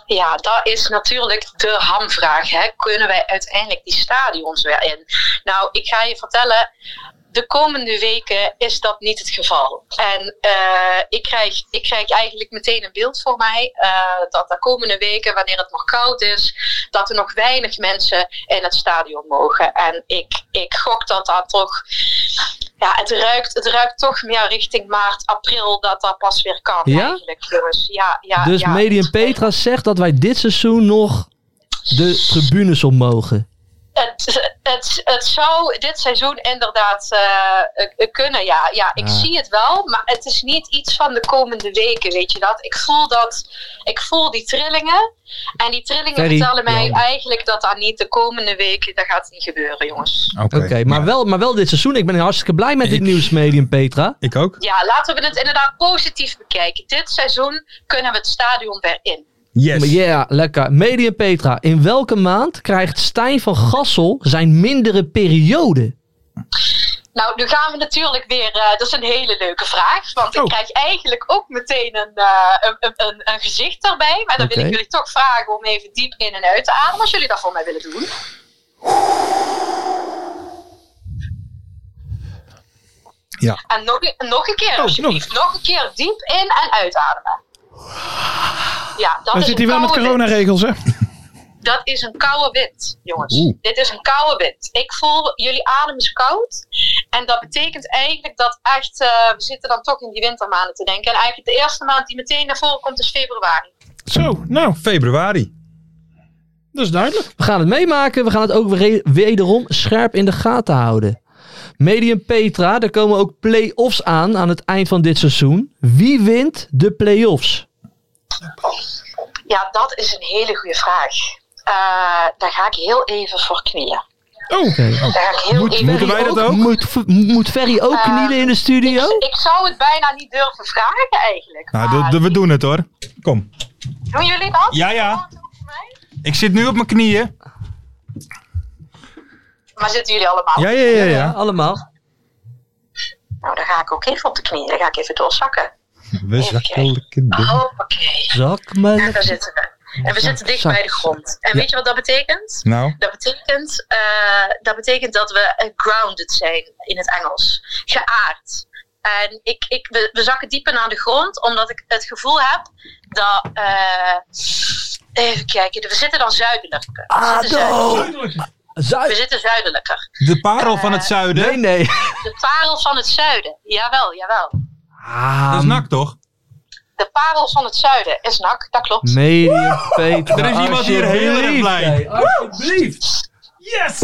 Ja, dat is natuurlijk de hamvraag. Hè. Kunnen wij uiteindelijk die stadions weer in? Nou, ik ga je vertellen. De komende weken is dat niet het geval. En eh, ik, krijg, ik krijg eigenlijk meteen een beeld voor mij eh, dat de komende weken, wanneer het nog koud is, dat er nog weinig mensen in het stadion mogen. En ik, ik gok dat dat toch. Ja, het ruikt, het ruikt toch meer richting maart, april dat dat pas weer kan. Ja? Eigenlijk, jongens. Ja, ja, dus ja. Medium Petra zegt dat wij dit seizoen nog de tribunes op mogen. Het, het, het zou dit seizoen inderdaad eh, eh, kunnen, ja. ja ik Ja. zie het wel, maar het is niet iets van de komende weken, weet je dat? Ik voel, dat, ik voel die trillingen. En die trillingen Ferry, vertellen mij Jan. eigenlijk dat dat niet de komende weken... Dat gaat niet gebeuren, jongens. Oké, Oké, maar, ja. wel, maar wel dit seizoen. Ik ben hartstikke blij met dit Ik- nieuws, Medium Petra. Ik ook. Ja, laten we het inderdaad positief bekijken. Dit seizoen kunnen we het stadion weer in. Yes. Maar ja, lekker. Medium Petra, in welke maand krijgt Stijn van Gassel zijn mindere periode? Nou, nu gaan we natuurlijk weer. eh, dat is een hele leuke vraag. Want Oh. ik krijg eigenlijk ook meteen een, eh, een, een, een, een gezicht erbij. Maar dan wil Oké. ik jullie toch vragen om even diep in en uit te ademen. Als jullie dat voor mij willen doen. Ja. En nog, een- nog een keer, Oh, nog alsjeblieft. Nog een keer diep in en uitademen. Ja, dat Dan is zit een hij wel met koude wind. coronaregels, hè? Dat is een koude wind, jongens. Oeh. Dit is een koude wind. Ik voel, jullie adem is koud. En dat betekent eigenlijk dat echt, eh, we zitten dan toch in die wintermaanden te denken. En eigenlijk de eerste maand die meteen naar voren komt is februari. Zo, nou, Februari. dat is duidelijk. We gaan het meemaken. We gaan het ook weer- wederom scherp in de gaten houden. Medium Petra, er komen ook play-offs aan aan het eind van dit seizoen. Wie wint de play-offs? Ja, dat is een hele goede vraag. Eh, daar ga ik heel even voor knieën. Oh, Daar ga ik heel even moeten wij dat ook? Moet, F- moet Ferry ook Eh, knielen in de studio? Ik, ik zou het bijna niet durven vragen eigenlijk. Nou, Maar de- de- we doen het hoor. Kom. Doen jullie dat? Ja, ja. Voor mij? Ik zit nu op mijn knieën. Maar zitten jullie allemaal? Ja, ja, ja. Oh, ja, allemaal. Nou, dan ga ik ook even op de knieën. Dan ga ik even doorzakken. We zakkelijke dingen. Hoppakee. Zak maar En daar lekker. zitten we. En we zitten dicht zak, bij de grond. En Ja. weet je wat dat betekent? Nou, Dat betekent, eh, dat betekent dat we eh, grounded zijn in het Engels. Geaard. En ik, ik, we, we zakken dieper naar de grond, omdat ik het gevoel heb dat. eh, even kijken, we zitten dan zuidelijker. We zitten, Ado! zuidelijker. we Zuid. zitten zuidelijker. de parel van het zuiden. Eh, Nee, nee. De parel van het zuiden. Jawel, jawel. Dat Ah, is nak toch? De parel van het zuiden is nak, dat klopt. Medium Petra. Er is iemand hier heel erg Nou, alsjeblieft. blij. Nee, Alsjeblieft.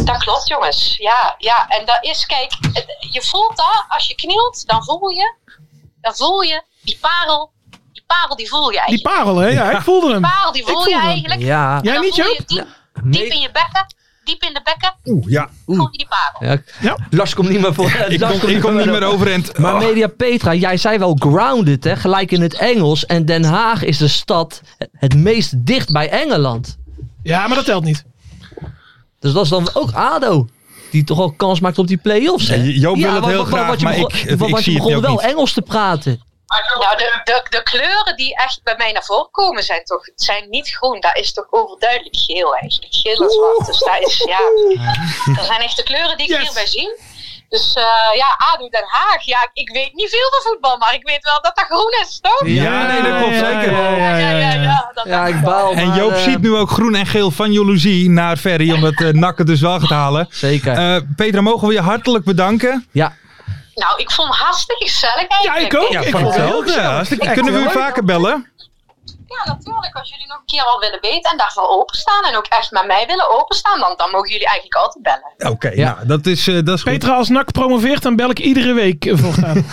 Dat klopt, jongens. Ja, ja. En dat is, kijk, het- je voelt dat als je knielt, dan voel je, dan voel je die parel, die parel die voel je Die eigenlijk. parel, hè? Ja, ik voelde hem. Die parel die Ik voel voel je hem. eigenlijk. Ja. En Jij dan niet, voel je Joop? diep, diep Nee. in je bekken, diep in de bekken, Oeh, ja. voel je die parel. Ja. Ja. Lars komt niet meer voor. Ik Lars kom, komt ik kom niet meer overend. Maar Oh. Media Petra, jij zei wel grounded, hè? gelijk in het Engels. En Den Haag is de stad het meest dicht bij Engeland. Ja, maar dat telt niet. Dus dat is dan ook ADO. Die toch ook kans maakt op die play-offs. Hè? Ja, Joop wil het want- heel want- want graag, je maar begon- ik- ik want je zie het begon ook wel niet. Engels te praten. Nou, de, de, de kleuren die echt bij mij naar voren komen zijn toch zijn niet groen. Dat is toch overduidelijk geel eigenlijk. Geel en zwart. Dus dat, is, ja, dat zijn echt de kleuren die ik Yes. hierbij zie. Dus eh, ja, ADO Den Haag. Ja, ik- ik weet niet veel van voetbal, maar ik weet wel dat dat groen is, toch? Ja, nee, dat klopt zeker. ja, ja, ja, ja. dat Ja, dacht ik wel. baal. En maar, Joop eh, ziet nu ook groen en geel van jaloezie naar Ferry, omdat eh Nak het dus wel gaat halen. Zeker. Eh Petra, mogen we je hartelijk bedanken? ja, Nou, ik vond het hartstikke gezellig Ja, eigenlijk. ik ook. ik vond het heel Hetzelfde. gezellig. Hartstikke- Echt Kunnen we heel u leuk. vaker bellen? Ja, natuurlijk. Als jullie nog een keer wat willen weten en daarvoor openstaan en ook echt met mij willen openstaan, dan, dan mogen jullie eigenlijk altijd bellen. Oké, Ja. nou, dat is, eh, dat is goed. Petra, als NAC promoveert, dan bel ik iedere week eh, voortaan.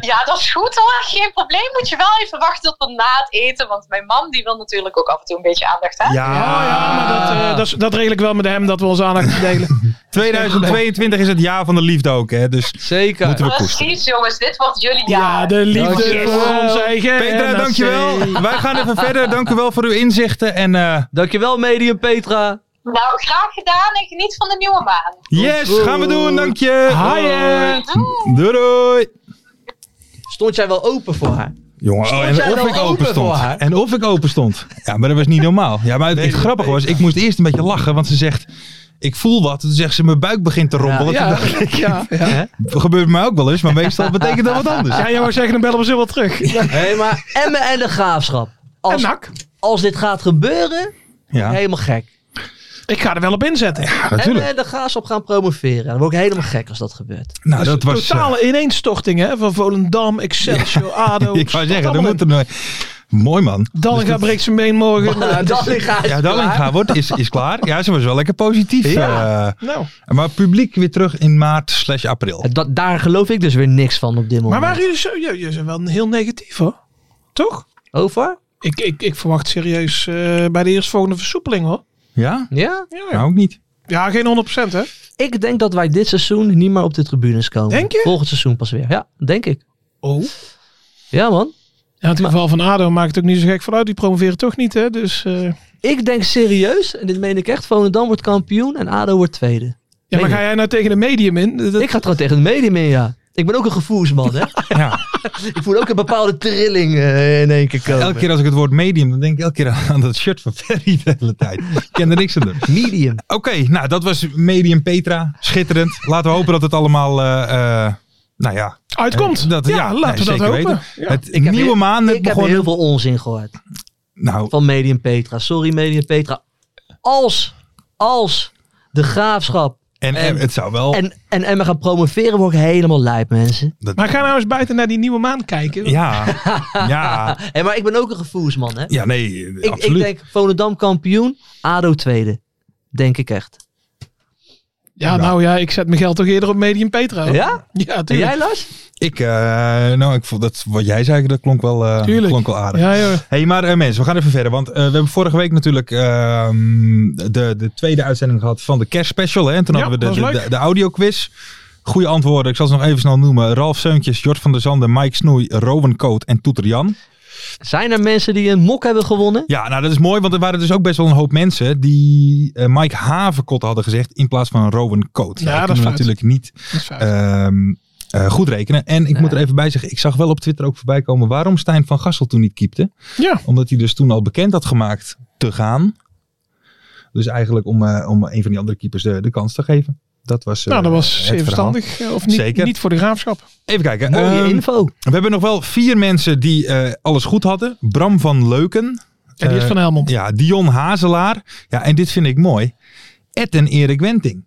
Ja, dat is goed hoor. Geen probleem. Moet je wel even wachten tot na het eten. Want mijn mam die wil natuurlijk ook af en toe een beetje aandacht. Hè? Ja, ja, maar dat, eh, dat, is- dat regel ik wel met hem, dat we onze aandacht delen. 2022 is het jaar van de liefde ook, hè? Dus zeker. moeten we koesteren. Precies, jongens. Dit wordt jullie jaar. Ja, de liefde Dankjewel. voor ons eigen. Petra, NAC. dankjewel. Wij gaan even verder. Dank u wel voor uw inzichten. En eh, Dankjewel, medium Petra. Nou, graag gedaan en geniet van de nieuwe maan. yes, Goed. gaan we doen. Dank je. Hi, eh. Doei. Doei doei. Stond jij wel open voor haar? Jongen, oh, en jij of wel ik open open voor stond. haar? En of ik open stond. Ja, maar dat was niet normaal. Ja, maar het, het grappige was, ik moest eerst een beetje lachen, want ze zegt, ik voel wat. Toen zegt ze, mijn buik begint te rommelen. Ja, Toen dacht ik, ja, ja. dat gebeurt mij ook wel eens, maar meestal betekent dat wat anders. ja, jij wou zeggen, dan bellen we ze wel terug. Hé, maar Emmen en de graafschap. En Als, NAC, als dit gaat gebeuren, Ja, helemaal gek. ik ga er wel op inzetten. natuurlijk. Emmen en eh, de graafschap gaan promoveren. Dan word ik helemaal gek als dat gebeurt. Nou, dus dat was... eh, Totale ineenstorting hè, van Volendam, Excelsior, ADO. ik wou zeggen, er dan dus moet er nog... Mooi man. Dallinga breekt zijn been morgen. Nou, Dan dus- gaat Ja, Dallinga wordt, is, is klaar. Ja, ze was wel lekker positief. Ja. eh. nou. maar publiek weer terug in maart slash april. Dat, daar geloof ik dus weer niks van op dit Maar moment. waren jullie zo... Jullie jullie zijn wel heel negatief hoor. Toch? Over? Ik, ik, ik verwacht serieus eh, bij de eerstvolgende versoepeling hoor. Ja? Ja? Ja, ja. Nou, ook niet. ja geen 100% hè. Ik denk dat wij dit seizoen niet meer op de tribunes komen. Denk je? Volgend seizoen pas weer. Ja, denk ik. Oh. Ja, man. Ja, in het geval van ADO maakt het ook niet zo gek van uit. Die promoveren toch niet, hè? Dus, eh, Ik denk serieus, en dit meen ik echt, Volendam wordt kampioen en ADO wordt tweede. ja, maar ik. ga jij nou tegen de medium in? Dat- Ik ga trouwens tegen het medium in, ja. Ik ben ook een gevoelsman, hè. Ja. ik voel ook een bepaalde trilling eh, in één keer komen. Elke keer als ik het woord medium, dan denk ik elke keer aan dat shirt van Ferry de hele tijd. Ik ken er niks aan doen. Medium. Oké, nou dat was medium Petra. Schitterend. Laten we hopen dat het allemaal, eh, eh, nou ja. Uitkomt. Dat, ja, nee, laten we dat zeker hopen. weten. Het Ik heb nieuwe heel- maan net Ik heb begonnen. heel veel onzin gehoord Nou, van Medium Petra. Sorry, Medium Petra. Als, als de graafschap en, En- het zou wel. en, en Emma gaan promoveren, word ik helemaal lijp, mensen. Maar ga nou eens buiten naar die nieuwe maan kijken. ja, ja, Hé, maar ik ben ook een gevoelsman, hè. ja, nee, ik, ik absoluut. denk Volendam kampioen, ADO tweede. Denk ik echt. Ja, nou ja, ik zet mijn geld toch eerder op medium Petra. Oh, hoor. Ja? Ja, En tuurlijk. jij, Lars? Ik, eh, nou, ik vond dat wat jij zei, dat klonk wel, eh, Tuurlijk. klonk wel aardig. Ja, joh. Hé, hey, maar eh, mensen, we gaan even verder. Want eh, we hebben vorige week natuurlijk ehm, de, de tweede uitzending gehad van de kerstspecial. Hè? En toen Ja, hadden we dat de, was de, leuk. de, de audioquiz. Goede antwoorden, ik zal ze nog even snel noemen. Ralf Seuntjes, Jort van der Zanden, Mike Snoei, Rowan Coat en Toeter Jan. Zijn er mensen die een mok hebben gewonnen? Ja, nou dat is mooi, want er waren dus ook best wel een hoop mensen die eh, Mike Havenkot hadden gezegd in plaats van Rowan Coat. Ja, dat kunnen is we fout. natuurlijk niet Dat is fout. ehm, eh, goed rekenen. En ik moet er even bij zeggen, ik zag wel op Twitter ook voorbij komen waarom Stijn van Gassel toen niet keepte. ja. Omdat hij dus toen al bekend had gemaakt te gaan. Dus eigenlijk om, eh, om een van die andere keepers de, de kans te geven. Dat was, eh, Nou, dat het was zeer verhaal. verstandig. Eh, Of niet, Zeker. niet voor de graafschap. Even kijken. Mooie ehm, info. we hebben nog wel vier mensen die eh, alles goed hadden. Bram van Leuken. Ja, die is Eh, van Helmond. Ja, Dion Hazelaar. Ja, en dit vind ik mooi. Ed en Erik Wenting.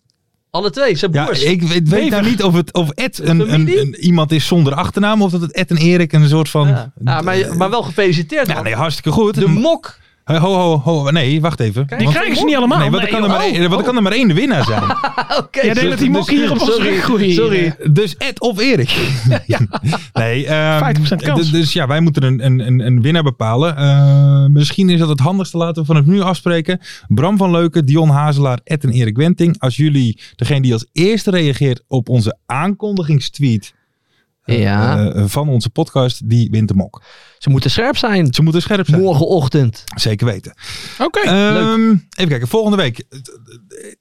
Alle twee, zijn Ja, broers. ik weet, weet daar niet of, het, of Ed een, een, Familie? een- iemand is zonder achternaam. Of dat het Ed en Erik een soort van... Ja. Ja, maar, maar wel gefeliciteerd. Ja, man. nee, hartstikke goed. De mok. Ho, ho, ho. Nee, wacht even. Kijk, Die Want- krijgen ze niet allemaal. oh, Nee, want er kan er maar één- want er kan er maar één de winnaar zijn. Oké. Jij denkt dat die mok hier op ons sorry, rug groeien. sorry. Dus Ed of Erik. Nee, ehm, 50% kans. d- Dus ja, wij moeten een, een- een, een winnaar bepalen. Eh, misschien is dat het handigste. Laten we vanaf nu afspreken. Bram van Leuken, Dion Hazelaar, Ed en Erik Wenting. Als jullie, degene die als eerste reageert op onze aankondigingstweet... eh, Ja. eh, van onze podcast, die wint de mok. Ze moeten scherp zijn. Ze moeten scherp zijn. Morgenochtend. Zeker weten. Oké. Ehm, even kijken, volgende week.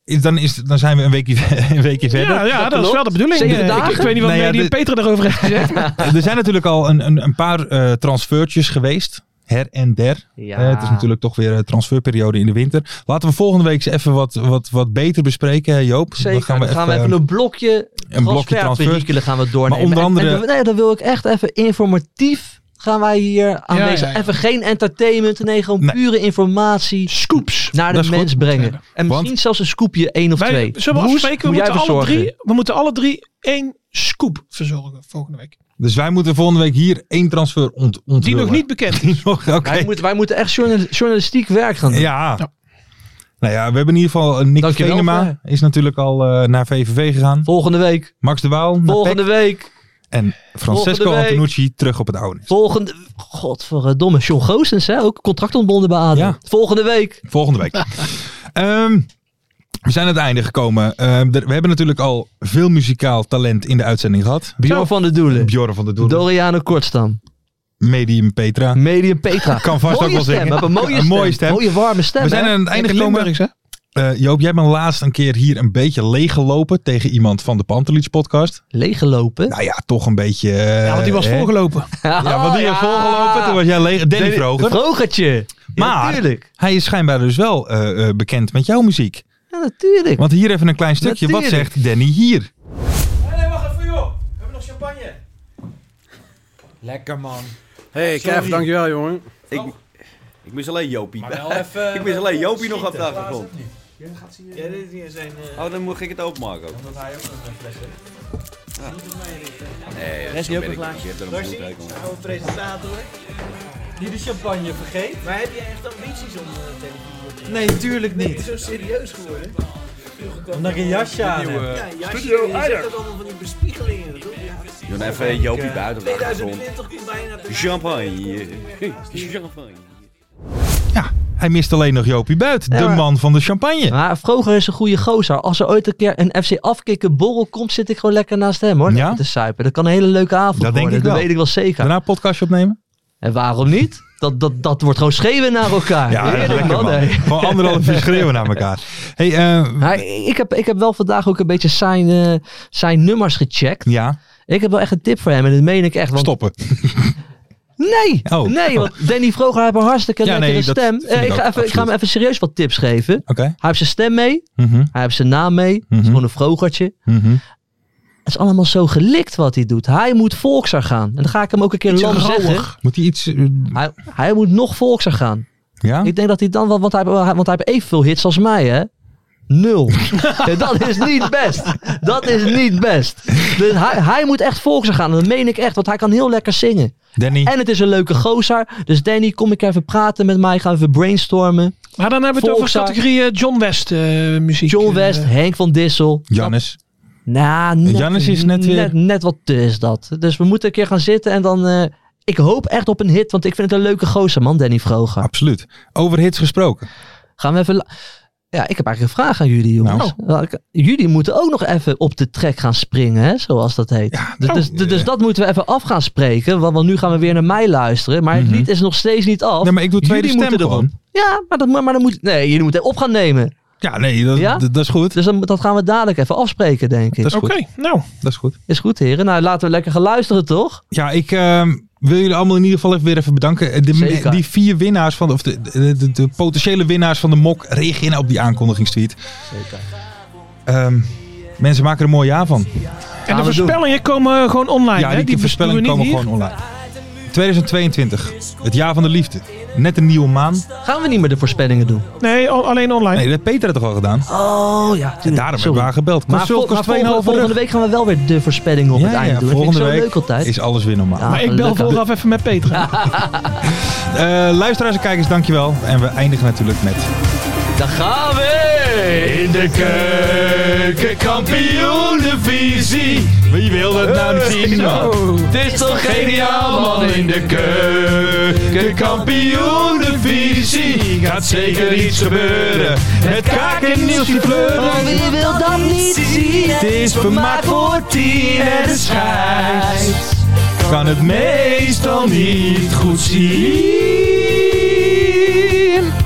eh, Dan, is, dan zijn we een weekje, een weekje verder. ja, ja, dat, is klopt. wel de bedoeling. Zeven Eh, ik- dagen? Ik, weet niet wat Nou ja, Medi en dit- Peter daarover heeft gezegd. maar- Eh, Er zijn natuurlijk al een, een, een paar eh transfertjes geweest. Her en der. Ja. Eh, het is natuurlijk toch weer een transferperiode in de winter. Laten we volgende week eens even wat, wat, wat beter bespreken, hè, Joop. Zeker. Dan gaan we, echt, even eh, een blokje een blokje transfer. transferperikelen gaan we doornemen. Maar onder En- andere- En, dan- nee, dan wil ik echt even informatief gaan wij hier aanwezig. ja, ja. Even geen entertainment, nee, gewoon Nee. pure informatie. Scoops. Naar de Dat is mens goed. brengen. En Want- misschien zelfs een scoopje één Nou, of twee. Wij, zullen we Broes, afspreken? We moet jij moeten, alle verzorgen. drie, we moeten alle drie één scoop verzorgen volgende week. Dus wij moeten volgende week hier één transfer ont onthullen. Die nog niet bekend is. Die nog, oké. Wij, moeten, wij moeten echt journal- journalistiek werk gaan doen. Ja. Ja. Nou ja, we hebben in ieder geval eh, Nick Dankjewel, Venema. Is natuurlijk al eh, naar VVV gegaan. Volgende week. Max de Waal. naar Volgende PEC. week. En Francesco volgende week. Antonucci terug op het oude. nest. Volgende. Godverdomme. John Goossens, hè? Ook contract ontbonden bij ADO. Ja. Volgende week. Volgende week. Ehm, we zijn aan het einde gekomen. Ehm, er- we hebben natuurlijk al veel muzikaal talent in de uitzending gehad. Bjorn van der Doelen. Bjorn van der Doelen. Doriano Kortstam. Medium Petra. Medium Petra. Kan vast mooie ook wel stem, zeggen. hebben Een mooie Een stem. mooie stem. Mooie warme stem. We zijn hè? aan het einde gekomen. Limburgs, hè? Eh, Joop, jij bent laatst een keer hier een beetje leeggelopen tegen iemand van de Pantelich podcast. Leeggelopen. Nou ja, toch een beetje... eh, Ja, want die was hè? voorgelopen. Ja, want die Oh, was ja. volgelopen. Toen was jij leeg. Danny Danny- Vroger. Vrogertje. Maar- Ja, natuurlijk. Hij is schijnbaar dus wel eh, eh, bekend met jouw muziek. Ja, natuurlijk. Want hier even een klein stukje. Wat Natuurlijk. zegt Danny hier? Hey, Kev, dankjewel jongen. Ik, ik mis alleen Jopie. ik mis alleen Jopie nog op de achtergrond. Oh, dan moet ik het openmaken ook. Omdat hij ook een flesje Nee, dat ben ik niet. Je hebt er een bloed hekel aan. Die de champagne vergeet. Maar heb je echt ambities om eh, een televisie Nee, tuurlijk niet. zo serieus geworden. Omdat ik een jasje aan heb. Ja, een jasje. Je zegt dat allemaal van die bespiegelingen. Dat doe je. Doe dan even Jopie buiten op de achtergrond. 2020 komt bijna te Champagne. Champagne. eh, Ja, hij mist alleen nog Jopie Buit. Ja, de maar- man van de champagne. Maar Vroger is een goede gozer. Als er ooit een keer een FC afkikken borrel komt, zit ik gewoon lekker naast hem hoor. Ja? Te suipen. Dat kan een hele leuke avond Dat denk worden. ik wel. Dat weet ik wel zeker. Daarna een podcastje opnemen? En waarom niet? Dat, dat, dat wordt gewoon schreeuwen naar elkaar. Ja, dat is Heerlijk, lekker man. hè. Gewoon anderhalf uur schreeuwen naar elkaar. Hey, eh, Maar ik heb, ik heb wel vandaag ook een beetje zijn, eh, zijn nummers gecheckt. ja, Ik heb wel echt een tip voor hem en dat meen ik echt. Want stoppen. Nee, Oh. nee, want Danny Vroger heeft een hartstikke Ja, lekkere nee, dat stem. vind Eh, ik ik, ook, ga even, ik ga absoluut. hem even serieus wat tips geven. Oké. Hij heeft zijn stem mee, Mhm, hij heeft zijn naam mee, het Mhm. is gewoon een vrogertje. mhm. Het is allemaal zo gelikt wat hij doet. Hij moet volkser gaan. En dan ga ik hem ook een keer lam zeggen. Moet hij iets... eh, Hij, hij moet nog volkser gaan. ja? Ik denk dat hij dan, wel- want hij, want hij heeft evenveel hits als mij, hè? Nul. En dat is niet best. Dat is niet best. Dus hij, hij moet echt volkser gaan. En dat meen ik echt, want hij kan heel lekker zingen. Danny? En het is een leuke gozer. Dus Danny, kom ik even praten met mij. Gaan we even brainstormen. Maar dan hebben we het over Volkszaak. categorie eh, John West eh, muziek. John West, Eh, Henk van Dissel. Jannes? Nou, net, Jannes is net weer- Net, net wat te is dat. Dus we moeten een keer gaan zitten en dan... eh, ik hoop echt op een hit, want ik vind het een leuke gozer, man, Danny Vroger. Absoluut. Over hits gesproken. Gaan we even... la- Ja, ik heb eigenlijk een vraag aan jullie, Nou. jongens. Wel, ik- Jullie moeten ook nog even op de trek gaan springen, hè, zoals dat heet. dus, nou, dus, dus, eh. dus dat moeten we even af gaan spreken, want, want nu gaan we weer naar mij luisteren. Maar het Mhm. lied is nog steeds niet af. Nee, maar ik doe tweede Jullie stem moeten gewoon. Ja, maar, dat, moet- maar dan moet... Nee, jullie moeten op gaan nemen. Ja, nee, dat, Ja? dat, dat is goed. Dus dan, dat gaan we dadelijk even afspreken, denk ik. Dat is Oké, goed. nou. Dat is goed. Is goed, heren. Nou, laten we lekker gaan luisteren, toch? Ja, ik ehm, wil jullie allemaal in ieder geval even weer even bedanken. Eh, De, Zeker. Die vier winnaars van de, of de, de, de- de potentiële winnaars van de mok reageren op die aankondigingstweet. Zeker. Ehm, mensen maken er een mooi jaar van. En we de doen. voorspellingen komen gewoon online. Ja, hè? die, voorspellingen doen we komen niet gewoon online. 2022, het jaar van de liefde. Net een nieuwe maan. Gaan we niet meer de voorspellingen doen? hier. Nee, al- alleen online. Nee, dat heeft Peter het toch al gedaan? Oh, ja. En daarom tuurlijk. Sorry. hebben we haar gebeld. Maar, vol- Consult maar kost 2,5 volgende, volgende rug. week gaan we wel weer de voorspelling op Ja, het einde ja, doen. Dat volgende vind ik zo week leuk altijd. is alles weer normaal. Ja. maar ik bel gelukkig. vooraf even met Petra. Eh, luisteraars en kijkers, dankjewel. En we eindigen natuurlijk met... Daar gaan we! In de keukenkampioenenvisie. Wie wil het nou niet zien, man? Dit is toch Geniaal man in de keukenkampioenenvisie. Gaat zeker iets gebeuren. Met kaak en Niels die Oh, fleuren. wie wil dat niet zien? Het is vermaakt voor tien en de schijt. schijt. kan het meestal niet goed zien.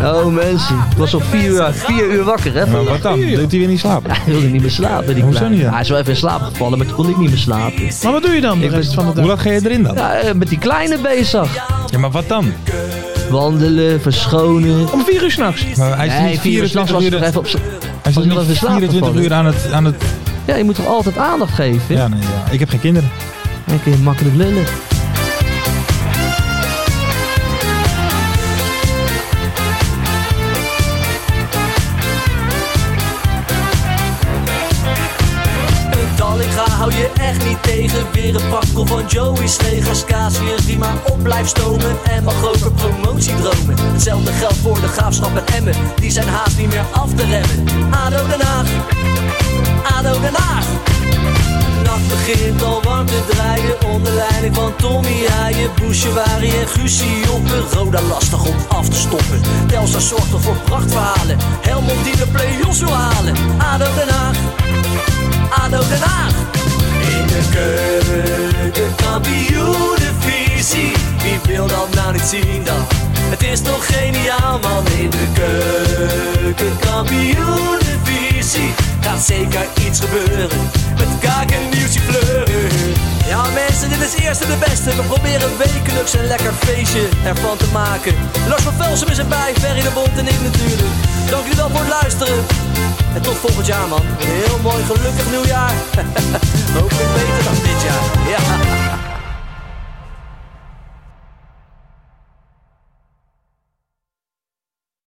Oh mensen, ik was al vier uur, vier uur wakker hè. Maar wat dan? Deed hij weer niet slapen? Hij wilde niet meer slapen die Hoezo kleine. niet dan? Hij is wel even in slaap gevallen, maar toen kon ik niet meer slapen. Maar wat doe je dan de Ik rest van de dag? Hoe laat ga je erin dan? Ja, eh, met die kleine bezig. Ja, maar wat dan? Wandelen, verschonen. Om vier uur s'nachts. Maar hij is Nee, niet vier uur 24 s'nachts was ik uur, nog hij even op sla- is was ik nog niet even in slaap 24 gevallen. uur aan het... Aan het Ja, je moet toch altijd aandacht geven? ja, nee, ja, ik heb geen kinderen. Dan kun je makkelijk lullen. Dallinga hou je echt niet tegen. Weer een pakkel van Joey's legers. Casius die maar op blijft stomen. En mag over promotiedromen. Hetzelfde geldt voor de graafschap en Emmen. Die zijn haast niet meer af te remmen. Ado Den Haag. Ado Den Haag. De nacht begint al warm te draaien. Onder leiding van Tommy Haaien, Bouchewari en Guusje Joppen. Roda lastig om af te stoppen. Telstar zorgt er voor prachtverhalen. Helmond die de play-offs wil halen. Ado Den Haag. ADO Den Haag. In de keuken, kampioenenvisie. Wie wil dat nou niet zien dan? Het is toch geniaal man. In de keuken, kampioenenvisie. Gaat zeker iets gebeuren. Met kaak en nieuwtje fleuren. Ja mensen, dit is eerste de beste. We proberen wekelijks een lekker feestje ervan te maken. Lars van Velsum is erbij, Ferry de Bond en ik natuurlijk. Dank jullie wel voor het luisteren. En tot volgend jaar, man. Een heel mooi, gelukkig nieuwjaar. Hopelijk beter dan dit jaar. Ja.